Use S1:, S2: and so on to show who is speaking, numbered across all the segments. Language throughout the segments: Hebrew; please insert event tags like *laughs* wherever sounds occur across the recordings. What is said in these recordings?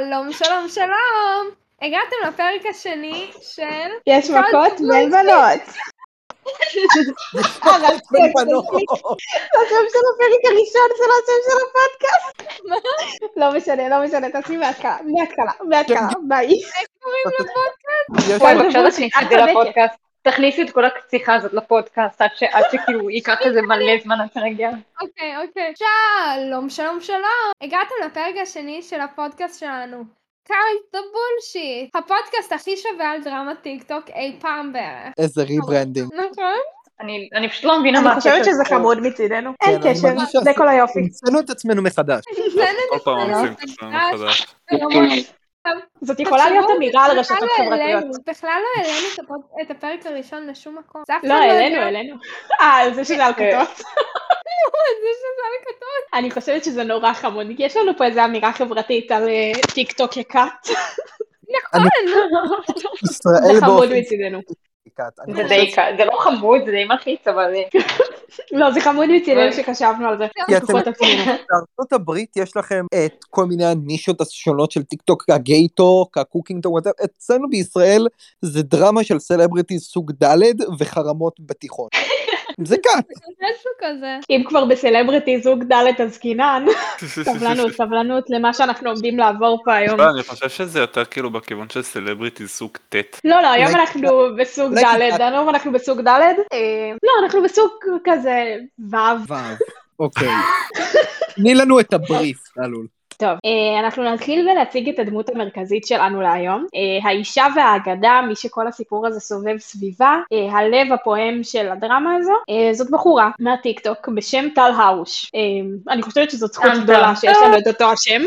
S1: שלום, שלום, שלום! הגעתם לפרק השני של...
S2: יש מכות
S1: כל
S2: בין
S1: זמן
S2: בנות.
S3: *laughs* בין בנות.
S2: השם של הפרק הראשון זה לא השם של הפודקאסט.
S1: מה?
S2: לא משנה, לא משנה, תעשי מההתחלה, מההתחלה, מההתחלה, ביי.
S1: קוראים
S3: *laughs*
S1: לפודקאסט.
S3: יש-
S4: וואי,
S2: אבל בואי,
S4: בבקשה תכניסי את זה
S2: את צודקת.
S4: לפודקאסט. תכניסי את כל הקציחה הזאת לפודקאסט, עד ש- עד שכאילו ייקח איזה מלא זמן עד שנגיע.
S1: אוקיי, אוקיי. שלום, שלום, שלום! הגעתם לפרק השני של הפודקאסט שלנו. קארל דה בולשיט! הפודקאסט הכי שווה על דרמה טיק טוק אי פעם בערך.
S3: איזה ריברנדינג.
S5: *laughs*
S1: נכון?
S4: אני אני פשוט לא מבינה מה
S2: אני חושבת
S4: הקשר
S2: שזה
S4: פה.
S2: חמוד מצידנו.
S3: כן,
S2: אין
S3: אני
S2: קשר,
S3: מרגיש שעשו-
S2: זה כל היופי.
S3: המצאנו את עצמנו מחדש.
S5: כל פעם
S2: לא
S1: זה
S5: עושים את
S1: מחדש.
S5: עצמנו מחדש.
S2: זאת יכולה להיות אמירה על רשתות
S1: בכלל לא
S2: חברתיות.
S1: העלינו, בכלל לא העלינו את הפוד- את הפרק הראשון לשום מקום. זה אף אחד
S4: לא,
S1: יודע.
S4: העלינו, העלינו.
S2: אה, על זה שזה על כתות.
S1: *laughs* זה שזה על כתוב.
S2: *laughs* אני חושבת שזה נורא חמוד, כי יש לנו פה איזו אמירה חברתית על אה, טיק טוק יקאט.
S1: נכון,
S2: זה
S3: ישראל
S2: חמוד
S3: באופן
S2: מצידנו.
S3: קאט. אני
S4: זה
S3: חושב
S4: די ק- זה לא חמוד, זה די מלחיץ, אבל... אה,
S2: לא, זה חמוד מצידנו
S4: אוי.
S2: שחשבנו על זה.
S3: כי
S2: אנחנו
S3: אתם-
S2: את עצמנו.
S3: שבארצות הברית יש לכם את כל מיני הנישות השונות של טיק טוק, הגייטוק, הקוקינג טוק, וואטאב. אצלנו בישראל זה דרמה של סלבריטיז סוג ד' וחרמות
S4: *laughs*
S3: בתיכון. זה קאט.
S1: משהו כזה.
S2: אם כבר בסלבריטי זוג ד' אז קינן,
S5: *laughs*
S2: סבלנות, סבלנות למה שאנחנו עומדים לעבור פה היום.
S5: לא, אני חושב שזה יותר כאילו בכיוון של סלבריטי סוג ט'.
S2: לא, לא, היום
S3: אולי-
S2: אנחנו בסוג
S3: אולי
S2: ד',
S3: קצת.
S2: היום אנחנו בסוג ד', אה, לא, אנחנו בסוג כזה ו'.
S3: וו. אוקיי. תני לנו את הבריף, אלול.
S2: טוב, אה, אנחנו נתחיל ולהציג את הדמות המרכזית שלנו להיום. אה, האישה והאגדה, מי שכל הסיפור הזה סובב סביבה, אה, הלב הפועם של הדרמה הזו, אה, זאת בחורה מהטיקטוק בשם טל האוש. אה, אני חושבת שזאת זכות
S4: טם-טם.
S2: גדולה שיש לנו את אותו השם.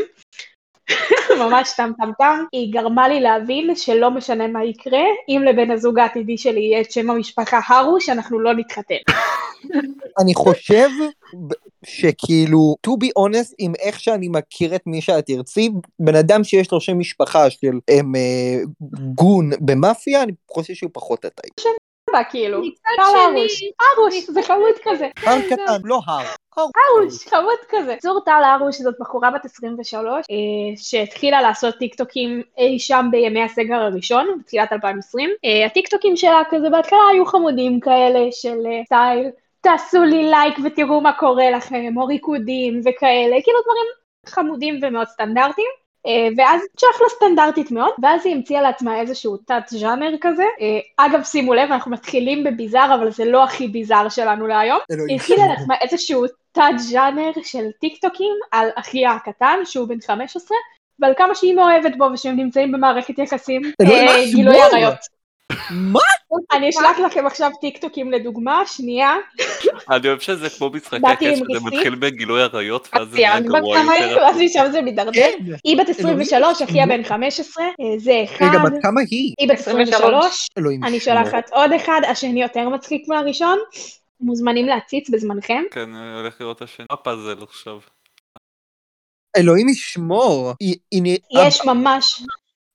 S2: *laughs* ממש טם טם טם. היא גרמה לי להבין שלא משנה מה יקרה, אם לבן הזוג העתידי שלי יהיה את שם המשפחה הרוש, אנחנו לא נתחתן. *laughs*
S3: אני חושב ב- שכאילו, to be honest, עם איך שאני מכיר את מי שאת תרצי, בן אדם שיש לו שם משפחה של הם, אה, גון במאפיה, אני חושב שהוא פחות עתיק.
S2: סבבה, כאילו.
S1: מצד
S2: טל הרוש.
S1: שני,
S2: הרוש, זה חמוד כזה.
S3: הר קטן, לא הר. הר.
S2: הרוש, חמוד כזה. צור טל הרוש זאת בחורה בת 23, אה, שהתחילה לעשות טיקטוקים אי שם בימי הסגר הראשון, בתחילת 2020. אה, הטיקטוקים שלה כזה בהתחלה היו חמודים כאלה של אה, סטייל, תעשו לי לייק ותראו מה קורה לכם, או ריקודים וכאלה, כאילו דברים חמודים ומאוד סטנדרטיים. אה, ואז צ'חלה סטנדרטית מאוד, ואז היא המציאה לעצמה איזשהו תת-ז'אנר כזה. אה, אגב, שימו לב, אנחנו מתחילים בביזאר, אבל זה לא הכי ביזאר שלנו להיום.
S3: אלוהים.
S2: היא התחילה לעצמה איזשהו תת-ז'אנר של טיקטוקים על אחיה הקטן, שהוא בן 15, ועל כמה שהיא מאוהבת בו ושהם נמצאים במערכת יחסים,
S3: אלוהים,
S2: אה,
S3: מה
S2: גילוי
S3: שמאל?
S2: עריות.
S3: מה?
S2: אני אשלח לכם עכשיו טיקטוקים לדוגמה, שנייה.
S5: אני אוהב שזה כמו משחקי
S2: באתי עם
S5: הקשר, זה
S2: ריסית.
S5: מתחיל בגילוי עריות, ואז זה נהיה
S4: ציינת
S5: גרוע
S4: כבר כמה
S5: יותר.
S2: ואז משם זה מידרדר.
S3: כן.
S2: היא בת 23, אחיה בן 15, אה, זה
S3: רגע,
S2: אחד.
S3: בת כמה היא?
S2: היא בת 23,
S4: 23.
S3: אלוהים.
S2: אני
S3: שמור.
S2: שולחת עוד אחד, השני יותר מצחיק מהראשון. מוזמנים להציץ בזמנכם.
S5: כן, אני הולך לראות את השני הפאזל עכשיו.
S3: אלוהים ישמור. היא- היא נ-
S2: יש ממש,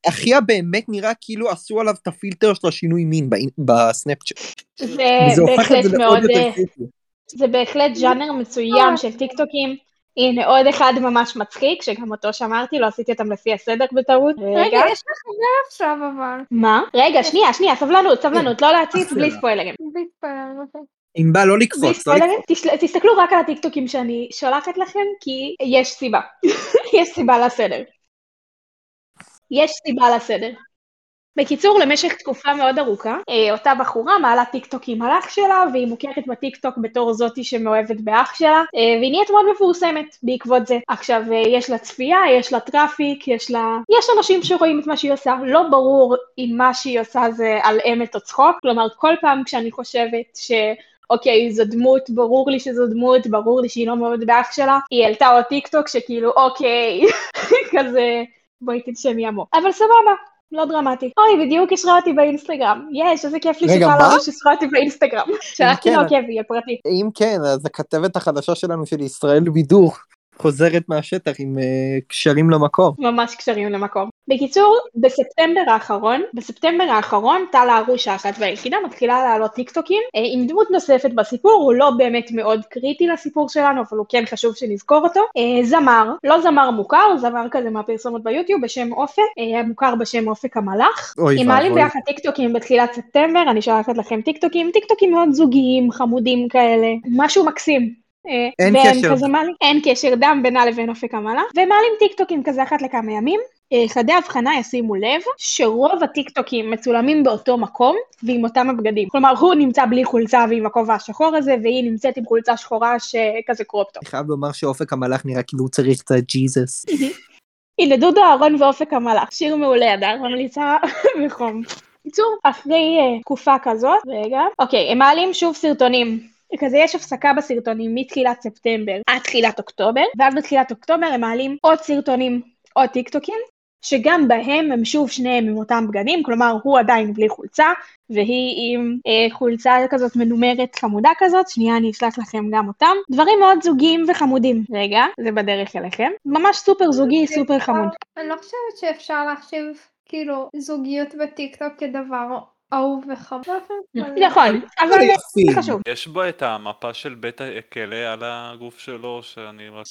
S3: אחיה באמת נראה כאילו עשו עליו את הפילטר של השינוי מין באינ- בסנאפצ'אט. וזה
S2: זה
S3: הופך את
S2: אה, בהחלט
S3: זה לעוד
S2: מאוד... אה,
S3: יותר סיפי.
S2: זה בהחלט ז'אנר מצוים של טיקטוקים. הנה עוד אחד ממש מצחיק, שגם אותו שמרתי, לא עשיתי אותם לפי הסדר בטעות.
S1: רגע, יש לך חבר עכשיו אבל.
S2: מה? רגע, שנייה, שנייה, סבלנות, סבלנות, לא להציץ, בלי
S3: בסדר.
S2: ספוילרים.
S1: מתפעל, אוקיי.
S3: אם בא לא
S2: בלי
S3: לקפוץ, לא
S2: ספוילרים, תשל- תסתכלו רק על הטיקטוקים שאני שולחת לכם, כי יש סיבה. *laughs* יש סיבה לסדר. יש סיבה לסדר. בקיצור, למשך תקופה מאוד ארוכה, אה, אותה בחורה מעלה טיקטוקים על אח שלה, והיא מוכרת בטיקטוק בתור זאתי שמאוהבת באח שלה, אה, והיא נהיית מאוד מפורסמת בעקבות זה. עכשיו, אה, יש לה צפייה, יש לה טראפיק, יש לה... יש אנשים שרואים את מה שהיא עושה, לא ברור אם מה שהיא עושה זה על אמת או צחוק, כלומר, כל פעם כשאני חושבת ש... אוקיי, זו דמות, ברור לי שזו דמות, ברור לי שהיא לא מאוד באח שלה. היא העלתה עוד טיקטוק שכאילו, אוקיי, *laughs* כזה, בואי תנשמי עמוק. אבל סבבה, לא דרמטי. אוי, בדיוק היא שרה אותי באינסטגרם. יש, איזה כיף לי
S3: רגע,
S2: שכבר
S3: מה?
S2: אמרו ששרה אותי באינסטגרם. שלחתי
S3: כן,
S2: לה
S3: אז-
S2: עוקב, היא הפרטי.
S3: אם כן, אז הכתבת החדשה שלנו של ישראל בידור חוזרת מהשטח עם אה, קשרים למקור.
S2: ממש קשרים למקום. בקיצור, בספטמבר האחרון, בספטמבר האחרון, טל הארוש האחת והיחידה מתחילה להעלות טיקטוקים אה, עם דמות נוספת בסיפור, הוא לא באמת מאוד קריטי לסיפור שלנו, אבל הוא כן חשוב שנזכור אותו. אה, זמר, לא זמר מוכר, זמר כזה מהפרסומות ביוטיוב בשם אופק, אה, המוכר בשם אופק המלאך.
S3: אוי
S2: אם מעלים ביחד טיקטוקים בתחילת ספטמבר, אני שולחת לכם טיקטוקים, טיקטוקים מאוד זוגיים, חמודים כאלה, משהו מקסים. אה,
S3: אין
S2: והם
S3: קשר.
S2: כזה מעלים- אין קשר דם בינה לבין אופק המעלה, ומעלים טיקטוקים כזה אחת לכמה ימים. אה, חדי הבחנה ישימו לב שרוב הטיקטוקים מצולמים באותו מקום ועם אותם הבגדים. כלומר, הוא נמצא בלי חולצה ועם הכובע השחור הזה, והיא נמצאת עם חולצה שחורה שכזה קרופטו.
S3: אני חייב לומר שאופק המלאך נראה כאילו הוא צריך קצת ג'יזוס.
S2: הנה דודו אהרון ואופק המלאך, שיר מעולה אדר, ממליצה *laughs* בחום. בקיצור, אחרי אה, תקופה כזאת, רגע, אוקיי, הם מעלים שוב סרטונים. כזה יש הפסקה בסרטונים מתחילת ספטמבר עד תחילת אוקטובר, ואז בתחילת אוקטובר הם מעלים עוד סרטונים, עוד טיקטוקים, שגם בהם הם שוב שניהם עם אותם בגדים, כלומר הוא עדיין בלי חולצה, והיא עם אה, חולצה כזאת מנומרת חמודה כזאת, שנייה אני אשלח לכם גם אותם. דברים מאוד זוגיים וחמודים. רגע, זה בדרך אליכם. ממש סופר זוגי, סופר חמוד.
S1: אני לא חושבת שאפשר להחשיב כאילו זוגיות בטיקטוק כדבר אהוב וחמור. באופן כללי.
S2: נכון, אבל זה- זה חשוב.
S5: יש בו את המפה של בית הכלא על הגוף שלו, שאני רק...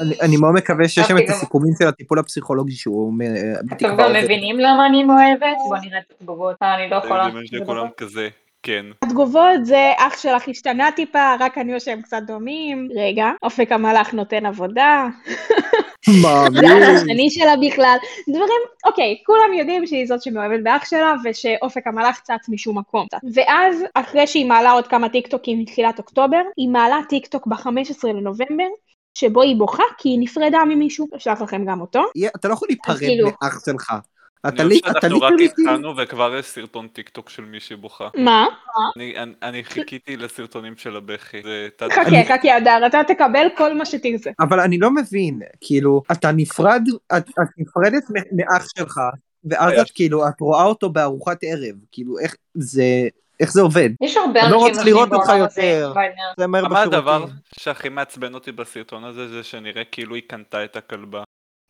S3: אני- אני מאוד מקווה שיש שם
S4: אוקיי,
S3: את
S4: גם-
S3: הסיכומים של הטיפול הפסיכולוגי שהוא אומר... אה, בתקווה
S4: אתם גם
S3: עובד.
S4: מבינים למה אני מאוהבת? בוא נראה את התגובות. אה, אני לא יכולה.
S5: אני מבין שכולם כזה, כן.
S2: התגובות זה אח שלך השתנה טיפה, רק אני או שהם קצת דומים. רגע, אופק המלאך נותן עבודה. זה אח *laughs*
S3: מאמין.
S2: השני שלה בכלל. דברים, אוקיי, כולם יודעים שהיא זאת שמאוהבת באח שלה, ושאופק המלאך צץ משום מקום. ואז, אחרי שהיא מעלה עוד כמה טיקטוקים מתחילת אוקטובר, היא מעלה טיקטוק ב-15 לנובמבר, שבו היא בוכה כי היא נפרדה ממישהו. אשלח לכם גם אותו.
S3: יהיה- אתה לא יכול להיפרד
S2: כאילו-
S3: מאח שלך.
S5: אני
S3: אתה
S5: חושב
S3: לי... אתה
S5: שאנחנו
S3: לי...
S5: רק
S3: כאילו-
S5: התחלנו וכבר יש סרטון טיק טוק של מישהי בוכה.
S2: מה?
S5: אני- אני- אני חיכיתי לסרטונים של הבכי. זה תת-
S2: חכה, חכה, אדר, אתה תקבל כל מה שתרצה.
S3: אבל אני לא מבין, כאילו, אתה נפרד, את, את נפרדת מ- מאח שלך, ואז
S5: היה
S3: את כאילו, את רואה אותו בארוחת ערב, כאילו, איך זה, איך זה עובד?
S4: יש הרבה
S3: אני לא
S4: אנשים
S3: רוצה לראות אותך
S4: בעולם הזה,
S3: יותר.
S4: בעניין.
S3: זה מהר
S5: אבל הדבר
S3: בשירותים.
S5: שהכי מעצבן אותי בסרטון הזה זה שנראה כאילו היא קנתה את הכלבה.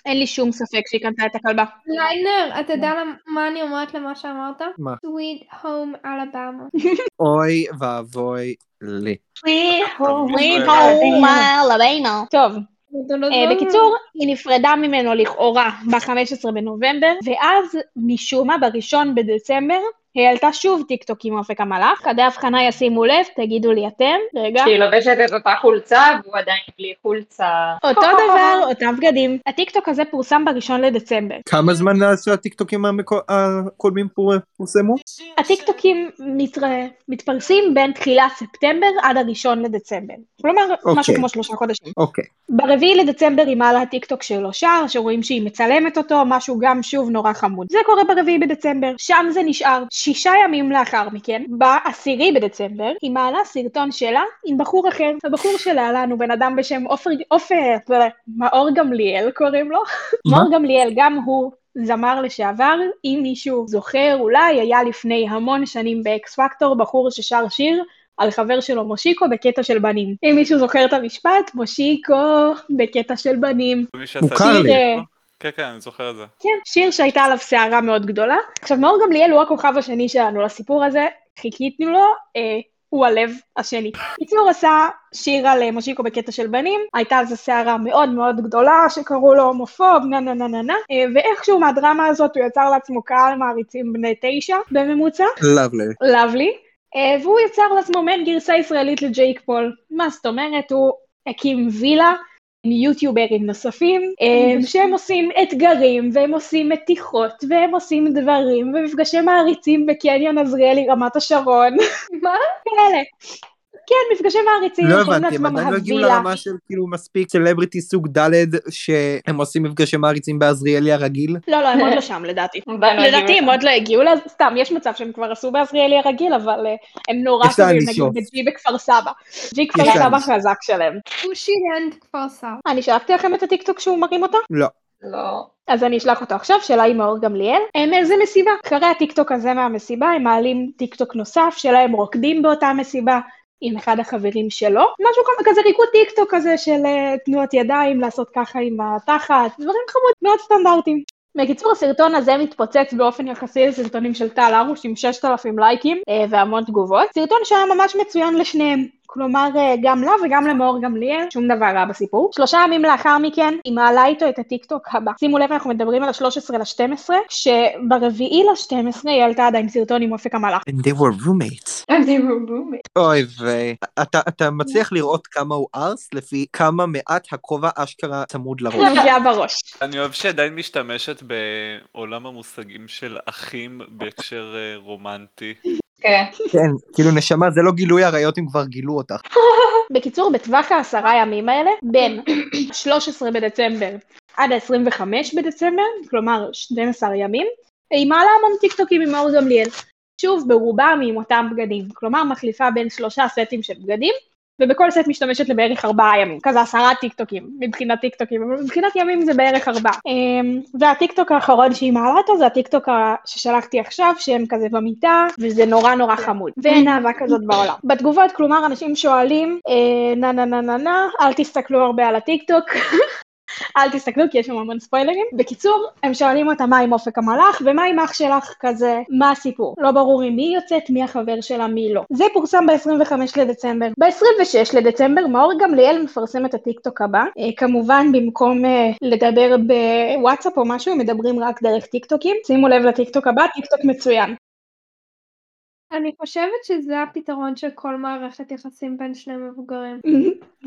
S2: אין לי שום ספק שהיא קנתה את הכלבה.
S1: ליינר, אתה יודע למ- מה אני אומרת למה שאמרת?
S3: מה?
S1: Sweet Home Alabama.
S3: אוי ואבוי לי.
S4: אה,
S2: oh טוב,
S1: זה לא
S2: אה,
S1: זמן.
S2: בקיצור, היא נפרדה ממנו לכאורה ב-15 בנובמבר, ואז משום מה ב-1 בדצמבר היא העלתה שוב טיקטוק עם אופק המלאך. חדי הבחנה ישימו לב, תגידו לי אתם, רגע.
S4: שהיא לובשת את אותה חולצה והוא עדיין בלי חולצה.
S2: אותו דבר, אותם בגדים. הטיקטוק הזה פורסם ב-1 לדצמבר.
S3: כמה זמן מאז שהטיקטוקים המקו- הקודמים פור- פורסמו?
S2: הטיקטוקים מתר... מתפרסים בין תחילת ספטמבר עד הראשון לדצמבר. כלומר, משהו
S3: אוקיי.
S2: כמו שלושה חודשים.
S3: אוקיי.
S2: ברביעי לדצמבר היא מעלה טיקטוק שלו שר, שרואים שהיא מצלמת אותו, משהו גם שוב נורא חמוד. זה קורה ברביעי בדצמבר, שם זה נשאר. שישה ימים לאחר מכן, בעשירי בדצמבר, היא מעלה סרטון שלה עם בחור אחר. הבחור שלה לנו בן אדם בשם עופר, עופר, מאור גמליאל קוראים לו.
S3: מה?
S2: מאור גמליאל, גם הוא. זמר לשעבר, אם מישהו זוכר, אולי היה לפני המון שנים באקס פקטור בחור ששר שיר על חבר שלו מושיקו בקטע של בנים. אם מישהו זוכר את המשפט, מושיקו בקטע של בנים.
S5: מי שעשה את
S3: מוכר
S5: זה.
S2: לי.
S5: כן, כן, אני זוכר את זה.
S2: כן, שיר שהייתה עליו סערה מאוד גדולה. עכשיו, מאור גמליאל הוא הכוכב השני שלנו לסיפור הזה, חיכינו לו, אה, הוא הלב השני. קיצור, עשה שיר על אה, מושיקו בקטע של בנים, הייתה על זה סערה מאוד מאוד גדולה, שקראו לו הומופוב, נה נה נה נה נה, אה, ואיכשהו מהדרמה הזאת הוא יצר לעצמו קהל מעריצים בני תשע בממוצע,
S3: לאבלי.
S2: לאבלי, אה, והוא יצר לעצמו מעין גרסה ישראלית לג'ייק פול. מה זאת אומרת? הוא הקים וילה עם יוטיוברים נוספים, אה, שהם עושים אתגרים, והם עושים מתיחות, והם עושים דברים, ומפגשי מעריצים בקניון עזריאלי רמת *laughs* השרון,
S1: מה?
S2: כאלה. כן, מפגשי מעריצים,
S3: לא
S2: קוראים
S3: הבנתי, הם
S2: לעצמם
S3: עדיין לא הגיעו
S2: הווילה.
S3: לרמה של כאילו מספיק סלבריטי סוג ד' שהם עושים מפגשי מעריצים בעזריאלי הרגיל.
S2: לא, לא, הם עוד לא שם לדעתי.
S4: עדיין לא הגיעו
S2: לדעתי הם
S4: לשם.
S2: עוד לא הגיעו, לזה, סתם, יש מצב שהם כבר עשו בעזריאלי הרגיל, אבל אה, הם נורא
S3: יש לאן
S2: טובים, נגיד
S3: לשאוף.
S2: בג'י בכפר סבא. ג'י כפר
S3: לאן
S2: סבא
S3: לשאוף.
S2: חזק שלהם.
S1: הוא שילן את כפר סבא.
S2: אני שלחתי לכם את הטיקטוק שהוא מרים אותו?
S3: לא.
S4: לא.
S2: אז אני אשלח אותו עכשיו, שלה עם מאור גמליאל. הם אה, איזה מסיבה? אחרי הטיקטוק הזה מהמסיבה, הם מעלים טיקטוק נוסף, שלה הם רוקדים באותה מסיבה. עם אחד החברים שלו, משהו כזה, כזה ריקוד טיקטוק כזה של אה, תנועות ידיים, לעשות ככה עם התחת, דברים חמוד, מאוד סטנדרטיים. בקיצור, הסרטון הזה מתפוצץ באופן יחסי לסרטונים של טל ארוש עם 6,000 לייקים אה, והמון תגובות. סרטון שהיה ממש מצוין לשניהם. כלומר, אה, גם לה וגם למאור גמליאל, שום דבר רע בסיפור. שלושה ימים לאחר מכן, היא מעלה איתו את הטיקטוק הבא. שימו לב, אנחנו מדברים על ה-13 ל-12, כשברביעי ל-12 היא העלתה עדיין סרטון עם אופק המלאך.
S3: And they were roommates.
S4: And they were roommates.
S3: אוי ויי. אתה, אתה מצליח לראות כמה הוא ארס לפי כמה מעט הכובע אשכרה צמוד לראש.
S2: נוגע בראש.
S5: אני אוהב שעדיין משתמשת בעולם המושגים של אחים בהקשר אה, רומנטי.
S4: כן.
S3: כן, כאילו נשמה זה לא גילוי עריות אם כבר גילו אותך.
S2: בקיצור, בטווח העשרה ימים האלה, בין 13 בדצמבר עד ה-25 בדצמבר, כלומר 12 ימים, היא מעלה המון טיקטוקים עם מאור גמליאל. שוב, ברובם עם אותם בגדים. כלומר, מחליפה בין שלושה סטים של בגדים, ובכל סט משתמשת לבערך ארבעה ימים. כזה עשרה טיקטוקים, מבחינת טיקטוקים, אבל מבחינת ימים זה בערך ארבעה. אמ, והטיקטוק האחרון שהיא מעלה אותו זה הטיקטוק ה- ששלחתי עכשיו, שהם כזה במיטה, וזה נורא נורא חמוד. ואין אהבה כזאת בעולם. בתגובות, כלומר, אנשים שואלים, אה, נה נה נה נה נה, אל תסתכלו הרבה על הטיקטוק. אל תסתכלו כי יש שם המון ספוילרים. בקיצור, הם שואלים אותה מה עם אופק המלאך ומה עם אח שלך כזה, מה הסיפור. לא ברור עם מי היא יוצאת, מי החבר שלה, מי לא. זה פורסם ב-25 לדצמבר. ב-26 לדצמבר מאור גמליאל מפרסם את הטיקטוק הבא. אה, כמובן, במקום אה, לדבר בוואטסאפ או משהו, הם מדברים רק דרך טיקטוקים. שימו לב לטיקטוק הבא, טיקטוק מצוין. *laughs*
S1: אני חושבת שזה הפתרון של כל מערכת יחסים בין שני *laughs* מבוגרים.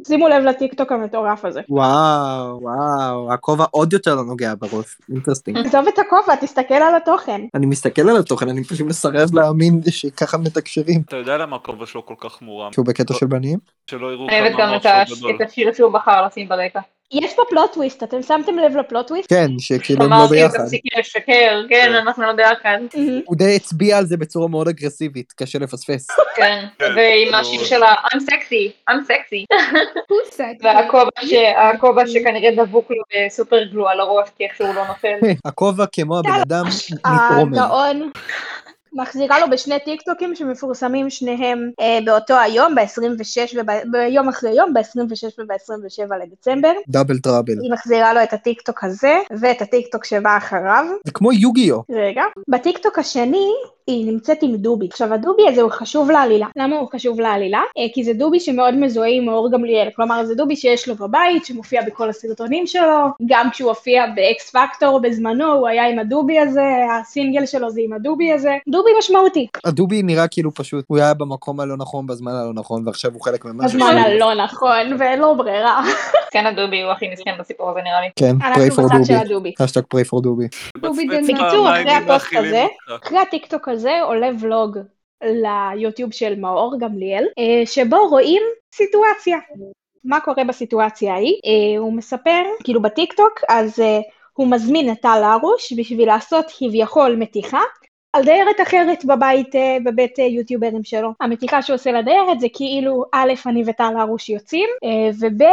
S2: שימו לב לטיקטוק המטורף הזה.
S3: וואו, וואו, הכובע עוד יותר לא נוגע בראש. אינטרסטינג.
S2: עזוב את הכובע, תסתכל על התוכן.
S3: אני מסתכל על התוכן, אני פשוט מסרב להאמין שככה מתקשרים.
S5: אתה יודע למה הכובע שלו כל כך מורם?
S3: כי הוא בקטע של בנים?
S5: שלא יראו
S4: אוהבת
S5: כמה
S4: גם
S5: המוח
S4: את ה-
S5: שלו גדול.
S4: את השיר שהוא בחר לשים ברקע.
S2: יש פה פלוט טוויסט, אתם שמתם לב לפלוט טוויסט?
S3: כן, שכאילו הם לא
S4: אמרתי,
S3: ביחד.
S4: תפסיקי לשקר, כן,
S5: כן.
S4: אנחנו לא ביחד.
S3: הוא די הצביע על זה בצורה מאוד אגרסיבית, קשה לפספס.
S4: כן.
S5: כן.
S4: ועם
S5: לא.
S4: השיר שלה, I'm sexy, I'm sexy.
S1: הוא סקסי.
S4: והכובע ש- הכובע שכנראה דבוק לו בסופר גלו על הראש, כי איכשהו הוא לא נופל.
S3: כן. הכובע כמו הבן אדם
S2: *laughs*
S3: מתרומם.
S2: הגאון אה, מחזירה לו בשני טיקטוקים שמפורסמים שניהם אה, באותו היום, ב-26 וביום אחרי יום, ב-26 וב-27 לדצמבר.
S3: דאבל טראבל.
S2: היא מחזירה לו את הטיקטוק הזה ואת הטיקטוק שבא אחריו.
S3: זה כמו יוגיו.
S2: רגע. בטיקטוק השני היא נמצאת עם דובי. עכשיו הדובי הזה הוא חשוב לעלילה. למה הוא חשוב לעלילה? אה, כי זה דובי שמאוד מזוהה עם מאור גמליאל. כלומר זה דובי שיש לו בבית, שמופיע בכל הסרטונים שלו, גם כשהוא הופיע באקס פקטור בזמנו, הוא היה עם הדובי הזה, הסינגל שלו זה עם הדובי הזה. דובי משמעותי.
S3: הדובי נראה כאילו פשוט, הוא היה במקום הלא נכון בזמן הלא נכון, ועכשיו הוא חלק ממשהו.
S2: בזמן
S3: שהוא-
S2: הלא נכון, ואין לו ברירה.
S4: כן, הדובי הוא הכי מסכן בסיפור הזה נראה לי.
S3: כן,
S2: אנחנו
S3: pray for
S2: בצד של
S3: דובי.
S2: הדובי.
S3: השטג pray for
S2: *laughs*
S3: דובי.
S1: דובי
S5: מצמץ
S1: דנאי.
S5: פעמיים
S2: בקיצור, אחרי
S5: אם
S2: הפוסט
S5: מאכילים
S2: הזה,
S5: אותך.
S2: אחרי הטיקטוק הזה עולה ולוג ליוטיוב של מאור גמליאל, אה, שבו רואים סיטואציה. מה קורה בסיטואציה ההיא? אה, הוא מספר, כאילו בטיקטוק, אז אה, הוא מזמין את טל הרוש בשביל לעשות כביכול מתיחה. על דיירת אחרת בבית, אה, בבית אה, יוטיוברים שלו. המתיחה שהוא עושה לדיירת זה כאילו, א', אני וטל הרוש יוצאים, אה, וב',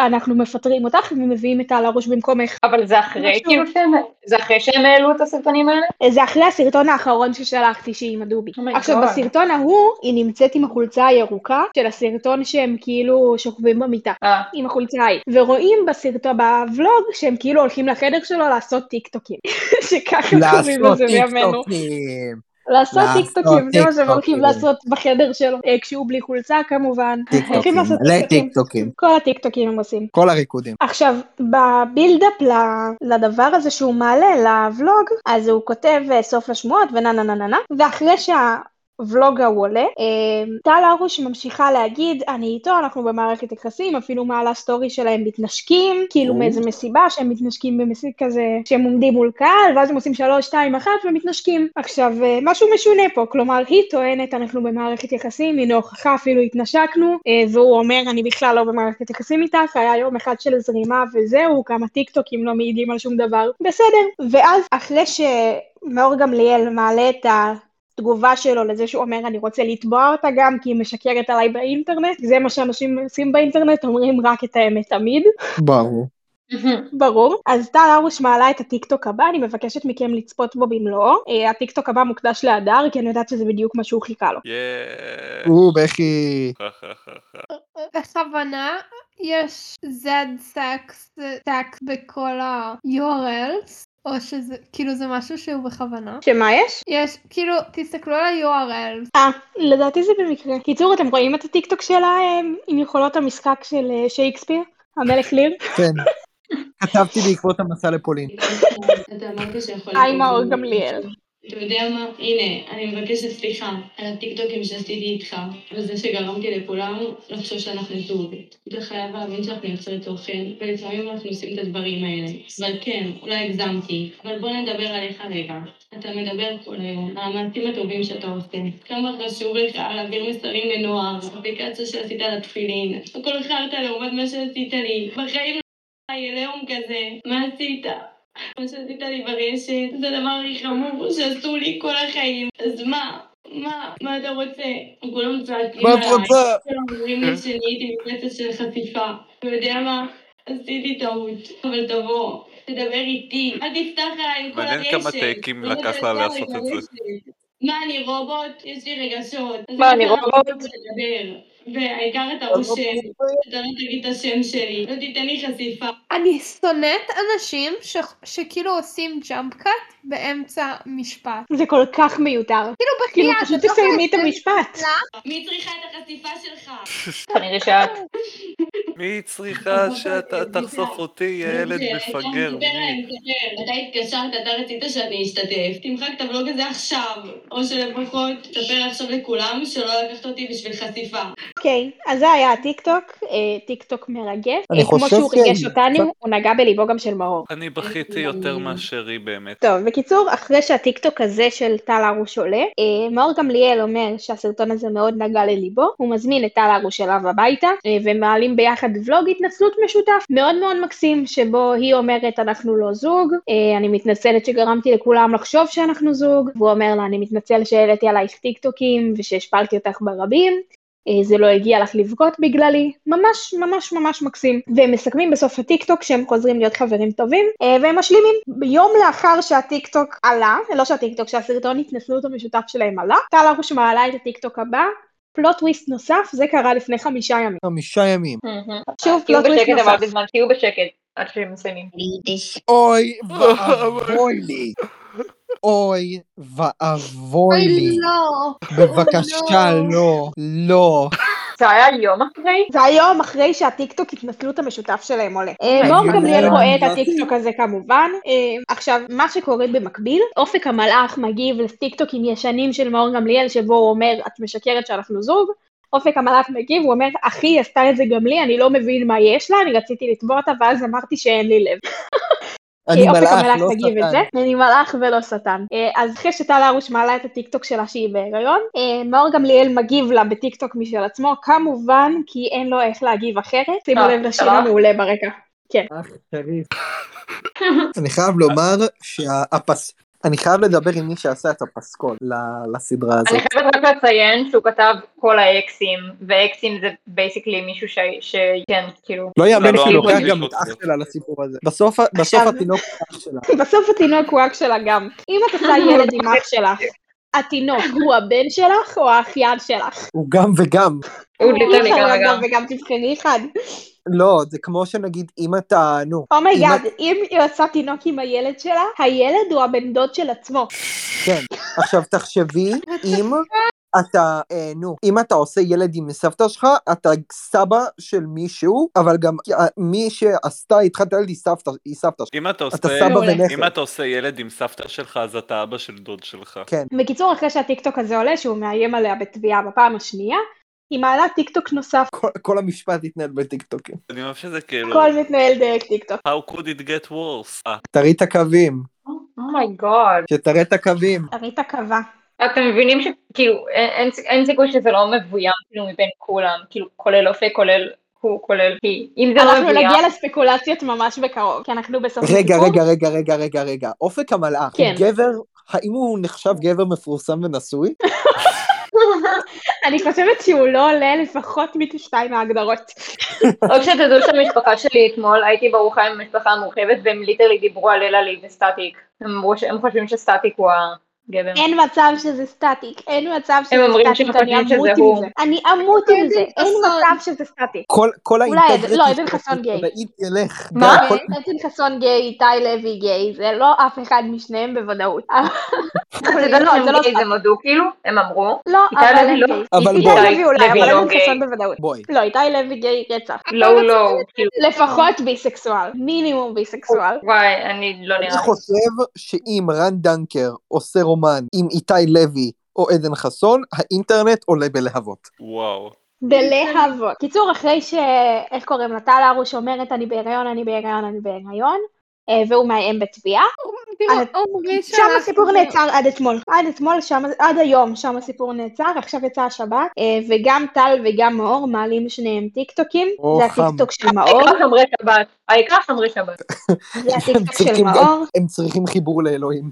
S2: אנחנו מפטרים אותך ומביאים את טל הרוש במקומך.
S4: אבל זה אחרי,
S2: משהו.
S4: כאילו, שהם, זה אחרי שהם העלו את הסרטונים האלה?
S2: אה, זה אחרי הסרטון האחרון ששלחתי שהיא עם הדובי.
S4: Oh my
S2: עכשיו
S4: God.
S2: בסרטון ההוא היא נמצאת עם החולצה הירוקה של הסרטון שהם כאילו שוכבים במיטה.
S4: אה,
S2: עם החולצה ההיא, ורואים בסרטון, בוולוג, שהם כאילו הולכים לחדר שלו לעשות טיקטוקים. *laughs* שככה קוראים
S3: לעשות
S2: לזה בימינו.
S3: טיקטוקים.
S2: לעשות
S3: לעשות
S2: טיקטוקים, זה מה שהם הולכים
S3: טיקטוקים.
S2: לעשות בחדר שלו. אה, כשהוא בלי חולצה כמובן.
S3: טיקטוקים,
S2: לעשות
S3: מלא
S2: טיקטוקים.
S3: טיקטוקים.
S2: כל הטיקטוקים הם עושים.
S3: כל הריקודים.
S2: עכשיו, בבילדאפ ל- לדבר הזה שהוא מעלה, לוולוג, אז הוא כותב אה, סוף לשמועות ונה נה נה נה נה, ואחרי שהוולוג ההוא עולה, אה, טל הרוש ממשיכה להגיד, אני איתו, אנחנו במערכת יחסים, אפילו מעלה סטורי שלהם מתנשקים, כאילו מאיזה מסיבה שהם מתנשקים במסיק כזה, שהם עומדים מול קהל, ואז הם עושים שלוש, שתיים, אחת ומתנשקים. עכשיו, אה, משהו משונה פה, כלומר, היא טוענת, אנחנו במערכת יחסים, הנה הוכחה, אפילו התנשקנו, אה, והוא אומר, אני בכלל לא במערכת יחסים איתך, היה יום אחד של זרימה וזהו, כמה טיקטוקים לא מעידים על שום דבר. בסדר. ואז, אחרי שמאור גמליאל מעלה את ה... תגובה שלו לזה שהוא אומר אני רוצה לתבוע אותה גם כי היא משקרת עליי באינטרנט זה מה שאנשים עושים באינטרנט אומרים רק את האמת תמיד
S3: ברור.
S2: ברור. אז טל הרוש מעלה את הטיקטוק הבא, אני מבקשת מכם לצפות בו במלואו. אה, הטיקטוק הבא מוקדש להדר, כי אני יודעת שזה בדיוק מה שהוא חיכה לו.
S5: יאה.
S3: או, בכי.
S1: בכוונה יש Z sex sex בכל ה-URLs, או שזה, כאילו זה משהו שהוא בכוונה.
S2: שמה יש?
S1: יש, כאילו, תסתכלו על ה-URLs.
S2: אה, לדעתי זה במקרה. קיצור, אתם רואים את הטיקטוק שלה אה, עם יכולות המשחק של אה, שייקספיר? המלך ליר? *laughs*
S3: כן. כתבתי בעקבות המסע לפולין.
S6: *laughs* אתה אמרת שיכול...
S2: היי מאור גמליאל.
S6: אתה יודע מה? הנה, אני מבקשת סליחה על הטיקטוקים שעשיתי איתך, וזה שגרמתי לכולנו לחשוב שאנחנו זוג. אתה חייב להבין שאנחנו יוצרי תוכן, ולפעמים אנחנו עושים את הדברים האלה. אבל כן, אולי הגזמתי, אבל בוא נדבר עליך רגע. אתה מדבר כל היום, המעשים הטובים שאתה עושה. כמה חשוב לך להעביר מסרים לנוער, אפליקציה שעשית על התפילין, הכל חרטא לעומת מה שעשית לי. בחיים לא היה לאום כזה, מה עשית? מה שעשית לי ברשת, זה הדבר הכי חמור שעשו לי כל החיים. אז מה? מה? מה אתה רוצה? כולם צועקים
S3: מה את
S6: עליי.
S3: רוצה?
S6: כולם אומרים לי שאני הייתי מפלצת של חשיפה. אתה יודע מה? עשיתי טעות, אבל תבוא, תדבר איתי. אל תפתח עליי עם כל
S5: מעניין
S6: הרשת.
S5: כמה טייקים
S6: לא
S5: לקח
S6: תדבר
S5: לה לעשות
S6: עם
S5: את זה.
S6: הרשת. מה, אני רובוט? יש לי רגשות. אז
S4: מה, אני
S6: אם אתה לא
S4: רובוט?
S6: רוצה לדבר. והעיקר אתה רושם, אתה לא תגיד את השם שלי, לא תיתן לי חשיפה.
S1: אני שונאת אנשים ש... שכאילו עושים ג'אמפ קאט באמצע משפט.
S2: זה כל כך מיותר.
S1: כאילו
S2: כאילו,
S1: בחייאת,
S2: פשוט
S1: אתה לא יכול
S2: תסיימי את
S1: לצאת
S2: המשפט.
S1: לה?
S6: מי צריכה את החשיפה שלך?
S4: כנראה שאת.
S5: מי צריכה שאתה תחשוף אותי, יא ילד
S6: זה,
S5: מפגר?
S6: אתה מדבר
S5: מי?
S6: עליהם, תדבר. אתה התקשרת, אתה רצית שאני אשתתף. תמחק את הבלוג הזה עכשיו, או שלפחות תספר עכשיו לכולם שלא לקחת אותי בשביל חשיפה.
S2: אוקיי, אז זה היה הטיקטוק, אה, טיקטוק מרגש.
S3: אני
S2: אה, כמו
S3: חושב
S2: שהוא
S3: ש-
S2: ריגש אותנו, הוא נגע בליבו גם של מאור.
S5: אני בכיתי יותר מאשר היא באמת.
S2: טוב, בקיצור, אחרי שהטיקטוק הזה של טל הרוש עולה, אה, מאור גמליאל אומר שהסרטון הזה מאוד נגע לליבו, הוא מזמין את טל הרוש אליו הביתה, אה, ומעלים ביחד ולוג התנצלות משותף מאוד מאוד מקסים, שבו היא אומרת אנחנו לא זוג, אה, אני מתנצלת שגרמתי לכולם לחשוב שאנחנו זוג, והוא אומר לה אני מתנצל שהעליתי עלייך טיקטוקים ושהשפלתי אותך ברבים, אה, זה לא הגיע לך לבכות בגללי, ממש ממש ממש מקסים. והם מסכמים בסוף הטיקטוק שהם חוזרים להיות חברים טובים, אה, והם משלימים. יום לאחר שהטיקטוק עלה, לא שהטיקטוק, שהסרטון התנסות המשותף שלהם עלה, טל ארוש מעלה את הטיקטוק הבא, פלוט טוויסט נוסף, זה קרה לפני חמישה ימים.
S3: חמישה ימים.
S2: שוב,
S4: תהיו
S3: לא
S2: פלוט טוויסט
S4: כאילו בשקט אבל
S2: נוסף.
S4: בזמן, תהיו בשקט עד שהם מסיימים.
S3: אוי ואבוי לי. אוי ואבוי
S1: אוי,
S3: לי.
S1: לא.
S3: בבקשה, לא. לא.
S4: זה היה יום אחרי?
S2: זה היום אחרי שהטיקטוק התנצלות המשותף שלהם עולה. אה,
S3: אני
S2: מאור גמליאל
S3: לא
S2: רואה את
S3: הבנתי.
S2: הטיקטוק הזה כמובן. אה, עכשיו, מה שקורה במקביל, אופק המלאך מגיב לטיקטוקים ישנים של מאור גמליאל, שבו הוא אומר, את משקרת שאנחנו זוג. אופק המלאך מגיב, הוא אומר, אחי, היא עשתה את זה גם לי, אני לא מבין מה יש לה, אני רציתי לתבוע אותה, ואז אמרתי שאין לי לב.
S3: אני
S2: אופק
S3: מלאך,
S2: המלאך
S3: לא
S2: אוקיי, תגיב את
S3: שטן.
S2: זה. אני מלאך ולא שטן. אה, אז אחרי שטל הרוש מעלה את הטיקטוק שלה שהיא בהיריון, אה, מאור גמליאל מגיב לה בטיקטוק משל עצמו, כמובן כי אין לו איך להגיב אחרת. שימו
S4: אה,
S2: לב לשיר
S4: אה.
S2: המעולה ברקע. *laughs*
S3: אח שריף. אני חייב לומר שהפס... אני חייב לדבר עם מי שעשה את הפסקול ל- לסדרה
S4: אני
S3: הזאת.
S4: חייבת רק לציין שהוא כתב כל האקסים, ואקסים זה בייסיקלי מישהו ש... שכן, כאילו...
S3: לא יאמן
S4: לא,
S3: שהוא
S4: אני
S3: לוקח
S4: מרגיש
S3: גם את
S5: אותו.
S3: אח שלה לסיפור הזה. בסוף ה- בסוף התינוק הוא אח שלה.
S2: בסוף התינוק הוא אח שלה גם. אם את עושה ילד עם אח שלך, התינוק הוא הבן שלך או האחיין שלך?
S3: הוא גם וגם.
S4: הוא
S2: אוקיי. אי
S4: ליטרלי
S2: אפשר
S4: גם
S2: להיות
S4: וגם.
S2: גם וגם תבחרי אחד.
S3: לא, זה כמו שנגיד אם אתה... נו.
S2: אומייגאד, אם היא עושה תינוק עם הילד שלה, הילד הוא הבן דוד של עצמו.
S3: כן. עכשיו תחשבי אם אתה, אה, נו, אם אתה עושה ילד עם סבתא שלך, אתה סבא של מישהו, אבל גם אה, מי שעשתה איתך את הילד היא סבתא, היא סבתא שלך.
S5: אם אתה עושה...
S3: אתה סבא
S2: מעולה.
S5: אם
S3: ונכד.
S5: אתה עושה ילד עם סבתא שלך, אז אתה אבא של דוד שלך.
S3: כן.
S2: בקיצור, אחרי שהטיקטוק הזה עולה, שהוא מאיים עליה בתביעה בפעם השנייה, היא מעלה טיקטוק נוסף,
S3: כל- כל המשפט התנהל בטיקטוקים.
S5: אני אוהב שזה כאילו...
S2: הכל מתנהל דרך טיקטוק.
S5: How could it get worse? אה,
S3: תראי את הקווים,
S4: Oh אומייגוד.
S3: שתראה את הקווים.
S2: אריתה קבע.
S4: אתם מבינים שכאילו אין- אין ס- אין סיכוי שזה לא מבוים כאילו מבין כולם, כאילו כולל אופק, כולל הוא, כולל היא. אם זה לא
S2: אנחנו
S4: מבוים,
S2: נגיע לספקולציות ממש בקרוב, כי אנחנו בסוף
S3: רגע,
S2: הסיפור.
S3: רגע, רגע, רגע, רגע, רגע. אופק המלאך,
S2: כן.
S3: הוא גבר, האם הוא נחשב גבר מפורסם ונשוי?
S2: אני חושבת שהוא לא עולה לפחות משתיים ההגדרות.
S4: רק שתדעו שהמשפחה שלי אתמול, הייתי בארוחה עם המשפחה המורחבת והם ליטרלי דיברו על אלה לי וסטטיק. הם אמרו שהם חושבים שסטטיק הוא הגבר.
S2: אין מצב שזה סטטיק, אין מצב שזה
S4: הם אומרים
S2: סטטיק,
S4: שהם
S2: אני
S4: חושבים
S2: אמות
S4: שזה
S2: עם
S4: הוא.
S2: זה. אני אמות עם זה, אין
S1: חסון.
S2: מצב שזה סטטיק.
S3: כל, כל
S2: אולי עדן- לא, עדן חסון גיי.
S3: הבעית ילך.
S4: מה?
S3: די, כל-
S2: עדן חסון אה? גיי, איתי לוי גיי, זה לא אף אחד משניהם בוודאות.
S4: אתה יודע
S2: לא, זה לא
S4: שהם גיי
S2: סטטיק.
S4: זה מודו כאילו? הם אמרו.
S2: לא,
S4: איתי
S2: אבל
S4: לוי
S2: הם
S4: לא.
S2: גיי.
S3: אבל
S2: איתי
S3: בואי.
S2: לוי אולי,
S4: לוי
S2: אבל
S4: לא
S2: עדן
S4: גיי.
S2: חסון בוודאות.
S3: בואי.
S2: לא, איתי לוי גיי רצח.
S4: לא, לא, כאילו.
S2: לפחות ביסקסואל, מינימום ביסקסואל.
S4: וואי, אני לא נראה
S3: אני
S4: לי.
S3: חושב שאם רן דנקר עושה רומן עם איתי לוי או עדן חסון, האינטרנט עולה בלהבות.
S5: וואו.
S2: בלהבות. קיצור, אחרי ש... איך קוראים לה? טל הרוש אומרת, אני בהיריון, אני בהיריון, אני בהיריון, אה, והוא מאיים בתביעה. אבל-
S1: תראו, עומרי שלח...
S2: שם הסיפור
S1: את כאילו, זה.
S2: נעצר עד אתמול. עד אתמול, שם, עד היום, שם הסיפור נעצר, עכשיו יצא השבת, אה, וגם טל וגם מאור מעלים שניהם טיקטוקים.
S3: או,
S2: זה
S3: חם.
S2: הטיקטוק של מאור,
S4: העיקר שומרי שבת. העיקר שומרי שבת.
S3: *laughs*
S2: זה הטיקטוק של
S3: צריכים גם-
S2: מאור,
S3: הם צריכים חיבור לאלוהים.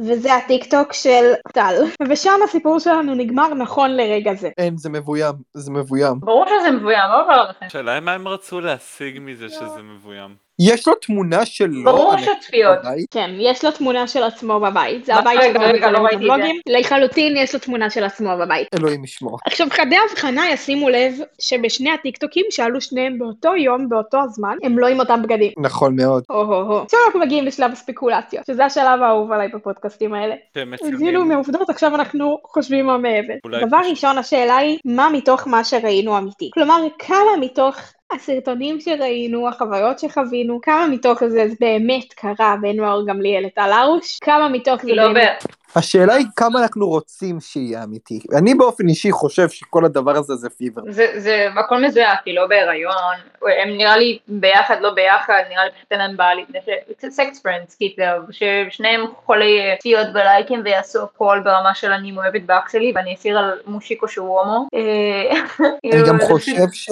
S2: וזה הטיקטוק של טל. ושם הסיפור שלנו נגמר נכון לרגע זה.
S3: אין, זה מבוים, זה מבוים.
S4: ברור שזה מבוים, לא עובר לכם.
S5: השאלה היא מה הם רצו להשיג מזה שזה מבוים.
S3: יש לו תמונה שלו.
S4: ברור
S3: ענקית
S4: שצפיות.
S3: בבית.
S2: כן, יש לו תמונה של עצמו בבית. זה
S4: מה?
S2: הבית
S4: רגע,
S2: שלו
S4: רגע, לא
S2: בכל
S4: ראיתי את זה.
S2: הבלוגים. לחלוטין יש לו תמונה של עצמו בבית.
S3: אלוהים ישמור.
S2: עכשיו, חדי הבחנה ישימו לב שבשני הטיקטוקים שעלו שניהם באותו יום, באותו הזמן, הם לא עם אותם בגדים.
S3: נכון מאוד.
S2: או-הו-הו. עכשיו אנחנו מגיעים לשלב הספקולציות, שזה השלב האהוב עליי בפודקאסטים האלה.
S5: שהם מצלמים.
S2: הבזינו מהעובדות, עכשיו אנחנו חושבים מה מעבר.
S5: אולי
S2: דבר
S5: פשוט.
S2: ראשון, השאלה היא, מה מתוך מה שראינו אמיתי? כלומר, כמה מתוך הסרטונים שראינו, החוויות שחווינו, כמה מתוך זה זה באמת קרה בין מאור גמליאל לטל הרוש? כמה מתוך זה
S4: היא לא
S2: באמת...
S4: ב...
S3: השאלה היא כמה אנחנו רוצים שיהיה אמיתי. אני באופן אישי חושב שכל הדבר הזה זה פיבר.
S4: זה, זה הכל מזויף, היא לא בהיריון, הם נראה לי ביחד, לא ביחד, נראה לי פשוט אין להם בעל, לפני ש... סקס פרנדס, כאילו, ששניהם חולי אה, צפיות ולייקים ויעשו הכל ברמה של אני מאוהבת באח שלי ואני אסיר על מושיקו שהוא הומו. אה, *laughs*
S3: אני גם
S4: זה פשוט-
S3: חושב ש...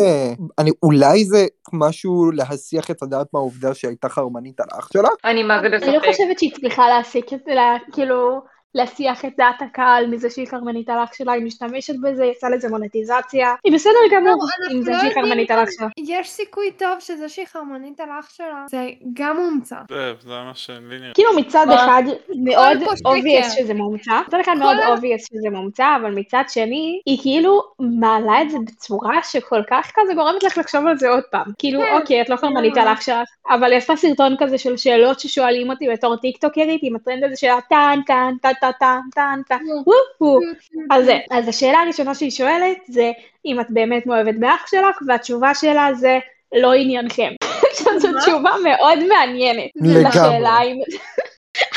S3: אני, אולי זה משהו להסיח את הדעת מהעובדה שהייתה חרמנית על אח שלה?
S4: אני מה זה
S2: אני לא
S4: בספק.
S2: חושבת שהיא צריכה להסיק את זה, לה- כאילו, להסיח את דעת הקהל מזה שהיא חרמנית על אח שלה, היא משתמשת בזה, יצאה לזה מונטיזציה. היא בסדר
S1: לא,
S2: גמור
S1: אנחנו
S2: עם זה
S1: לא
S2: שהיא
S1: יודעים
S2: חרמנית על אח שלה.
S1: יש סיכוי טוב שזה שהיא חרמנית על אח שלה, זה גם מומצא.
S5: זה אה, זה מה שלי נראה.
S2: כאילו מצד
S4: מה?
S2: אחד מאוד
S1: פה שקר.
S2: obvious שזה מומצא, מצד אחד מאוד
S1: כן. כל-
S2: obvious שזה מומצא, אבל מצד שני, היא כאילו מעלה את זה בצורה שכל כך כזה גורמת לך לחשוב על זה עוד פעם. כאילו,
S1: כן.
S2: אוקיי, את לא חרמנית
S1: ממש.
S2: על אח שלך, אבל היא עשתה סרטון כזה של שאלות ששואלים אותי בתור טיקטוקרית, עם הטרנד הזה של הטן, טן, טן, טן, טן, טן, טן, וופ, וופ. על זה. אז השאלה הראשונה שהיא שואלת זה אם את באמת מאוהבת באח שלך, והתשובה שלה זה לא עניינכם. *laughs* עכשיו זו
S1: מה?
S2: תשובה מאוד מעניינת.
S1: זה לא-
S3: לגמרי.
S2: לשאלה האם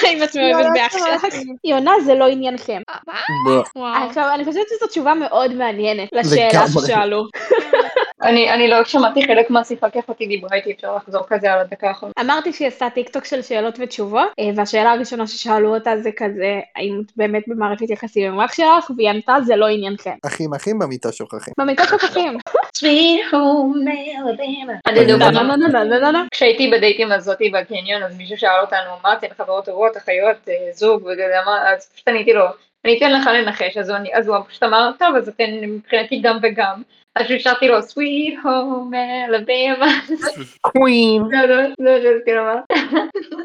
S2: האם את מאוהבת באח שלך. היא עונה זה לא עניינכם.
S1: אה, מה?
S3: ב-
S1: וואו.
S2: עכשיו אני חושבת שזו תשובה מאוד מעניינת לשאלה
S3: אה. לגמרי.
S2: ששאלו.
S4: אני, אני לא שמעתי חלק מהשיחה כיף אותי דיברה איתי, אפשר לחזור כזה על הדקה האחרונה.
S2: אמרתי שהיא עשתה טיקטוק של שאלות ותשובות, אה, והשאלה הראשונה ששאלו אותה זה כזה, האם את באמת במערכת יחסים עם אח שלך, והיא ענתה זה לא עניינכם.
S3: אחים אחים במיטה שוכחים.
S2: במיטה
S3: *laughs*
S2: שוכחים.
S4: Sweet home Alabama. אני
S3: לא,
S4: דוגמה.
S2: לא, לא, לא, לא, לא, לא.
S4: כשהייתי בדייטים הזאתי בקניון, אז מישהו שאל אותנו, מה אתן חברות טובות, אחיות, אה, זוג, וזה אמר, אז פשוט עניתי לו, אני אתן לך לנחש, אז הוא, עני- אז הוא פשוט אמר, טוב, אז אתן מבחינתי גם וגם. אז שרתי לו, sweet home Alabama.
S3: קווין.
S4: לא, לא, לא, לא, כאילו מה?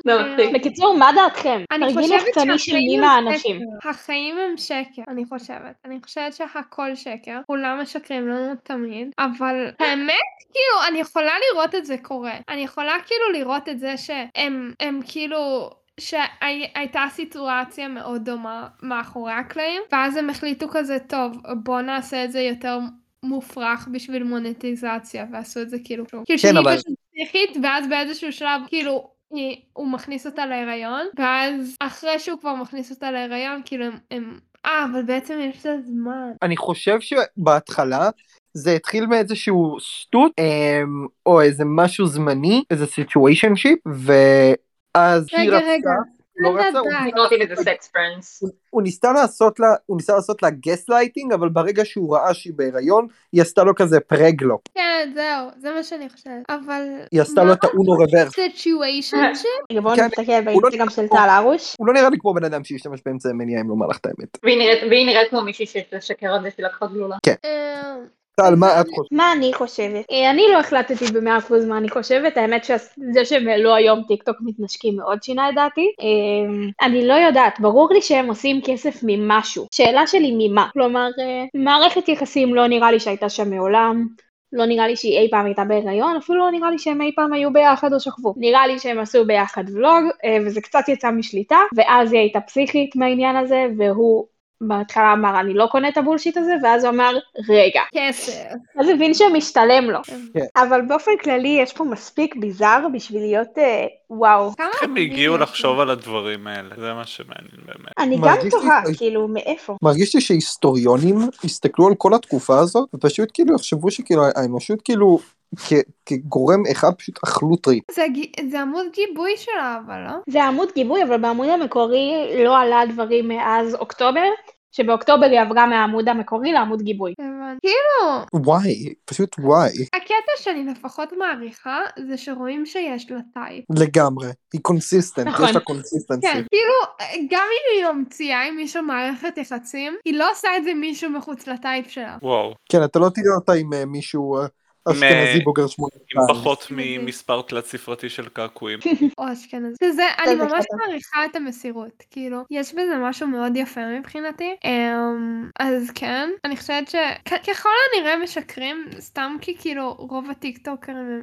S4: לא, מצחיק.
S2: *laughs* בקיצור, מה דעתכם?
S1: אני
S2: תרגיל
S1: חושבת
S2: יחצני של מי
S1: שהחיים הם
S2: מהאנשים.
S1: שקר. החיים הם שקר, אני חושבת. אני חושבת שהכל שקר, כולם משקרים לנו תמיד, אבל האמת, כאילו, אני יכולה לראות את זה קורה. אני יכולה כאילו לראות את זה שהם הם כאילו... שהייתה סיטואציה מאוד דומה מאחורי הקלעים, ואז הם החליטו כזה, טוב, בוא נעשה את זה יותר מופרך בשביל מונטיזציה, ועשו את זה כאילו, כאילו כן, שהיא
S3: אבל-
S1: פשוט פסיכית, ואז באיזשהו שלב, כאילו, היא, הוא מכניס אותה להיריון, ואז אחרי שהוא כבר מכניס אותה להיריון, כאילו הם... הם אה, אבל בעצם יש לה זמן.
S3: אני חושב שבהתחלה זה התחיל מאיזשהו שטות אמ, או איזה משהו זמני, איזה סיטואשן שיפ, ואז היא
S1: רגע, רגע.
S3: רצתה לא רצה, הוא
S1: בוודאי.
S4: not even the sex friends.
S3: הוא ניסה לעשות לה, הוא ניסה לעשות לה גס לייטינג, אבל ברגע שהוא ראה שהיא בהיריון, היא עשתה לו כזה פרגלו.
S1: כן, זהו, זה מה שאני חושבת. אבל...
S3: היא עשתה לו את האונו רוורס.
S1: סיטואשן
S2: *laughs*
S1: ש...
S2: רגע, בואו
S3: כן,
S2: נסתכל
S3: הוא לא
S2: באינסטגרם של
S3: פה.
S2: טל הרוש.
S3: הוא לא נראה לי כמו בן אדם שישתמש באמצעי מניעה, אם לומר לך את האמת.
S4: והיא נראית- והיא נראית כמו מישהי שתשקר על זה שהיא לקחה גלולה.
S1: אה,
S3: טל, מה את חושבת?
S2: מה אני חושבת? אה, אני לא החלטתי במאה אחוז מה אני חושבת, האמת שזה שהם העלו היום טיקטוק מתנשקים מאוד שינה את דעתי. אה, אני לא יודעת, ברור לי שהם עושים כסף ממשהו. שאלה שלי ממה? כלומר, אה, מערכת יחסים לא נראה לי שהייתה שם מעולם. לא נראה לי שהיא אי פעם הייתה בהיריון, אפילו לא נראה לי שהם אי פעם היו ביחד או שכבו. נראה לי שהם עשו ביחד ולוג, אה, וזה קצת יצא משליטה, ואז היא הייתה פסיכית מהעניין הזה, והוא בהתחלה אמר, אני לא קונה את הבולשיט הזה, ואז הוא אמר, רגע,
S1: כסף.
S2: אז הבין שמשתלם לו.
S3: כן.
S2: אבל באופן כללי יש פה מספיק ביזאר בשביל להיות אה, וואו.
S1: כמה
S5: איך הם
S1: עקבים
S5: הגיעו
S1: יש לו?
S5: לחשוב על הדברים האלה? זה מה שמעניין באמת.
S2: אני גם
S3: מרגיש לי
S2: תוהה,
S3: ש-
S2: כאילו, מאיפה?
S3: מרגיש לי שהיסטוריונים הסתכלו על כל התקופה הזאת, ופשוט כאילו יחשבו שכאילו האנושות כאילו כ- כגורם אחד פשוט אכלו טריפ.
S1: זה גי- זה עמוד גיבוי שלה, אבל לא?
S2: זה עמוד גיבוי, אבל בעמוד המקורי לא עלה דברים מאז אוקטובר, שבאוקטובר היא עברה מהעמוד המקורי לעמוד גיבוי.
S1: הבנתי. כאילו,
S3: וואי, פשוט וואי,
S1: הקטע שאני לפחות מעריכה, זה שרואים שיש לה טייפ.
S3: לגמרי. היא קונסיסטנט,
S2: נכון.
S3: יש לה קונסיסטנסי.
S1: כן, כאילו, גם אם היא ממציאה עם מישהו מערכת יחסים, היא לא עושה את זה עם מישהו מחוץ לטייפ שלה.
S5: וואו.
S3: כן, אתה לא תראה אותה עם אה, מישהו אה, אשכנזי
S5: מ-
S3: בוגר שמונה.
S5: עם
S1: אה,
S5: פחות
S1: אשכנזי.
S5: ממספר תלת ספרתי של קעקועים.
S1: *laughs* או אשכנזי. שזה, אני
S2: זה
S1: ממש
S2: קטע.
S1: מעריכה את המסירות, כאילו, יש בזה משהו מאוד יפה מבחינתי. אמ, אז כן, אני חושבת שככל הנראה משקרים, סתם כי כאילו רוב הטיקטוקרים הם...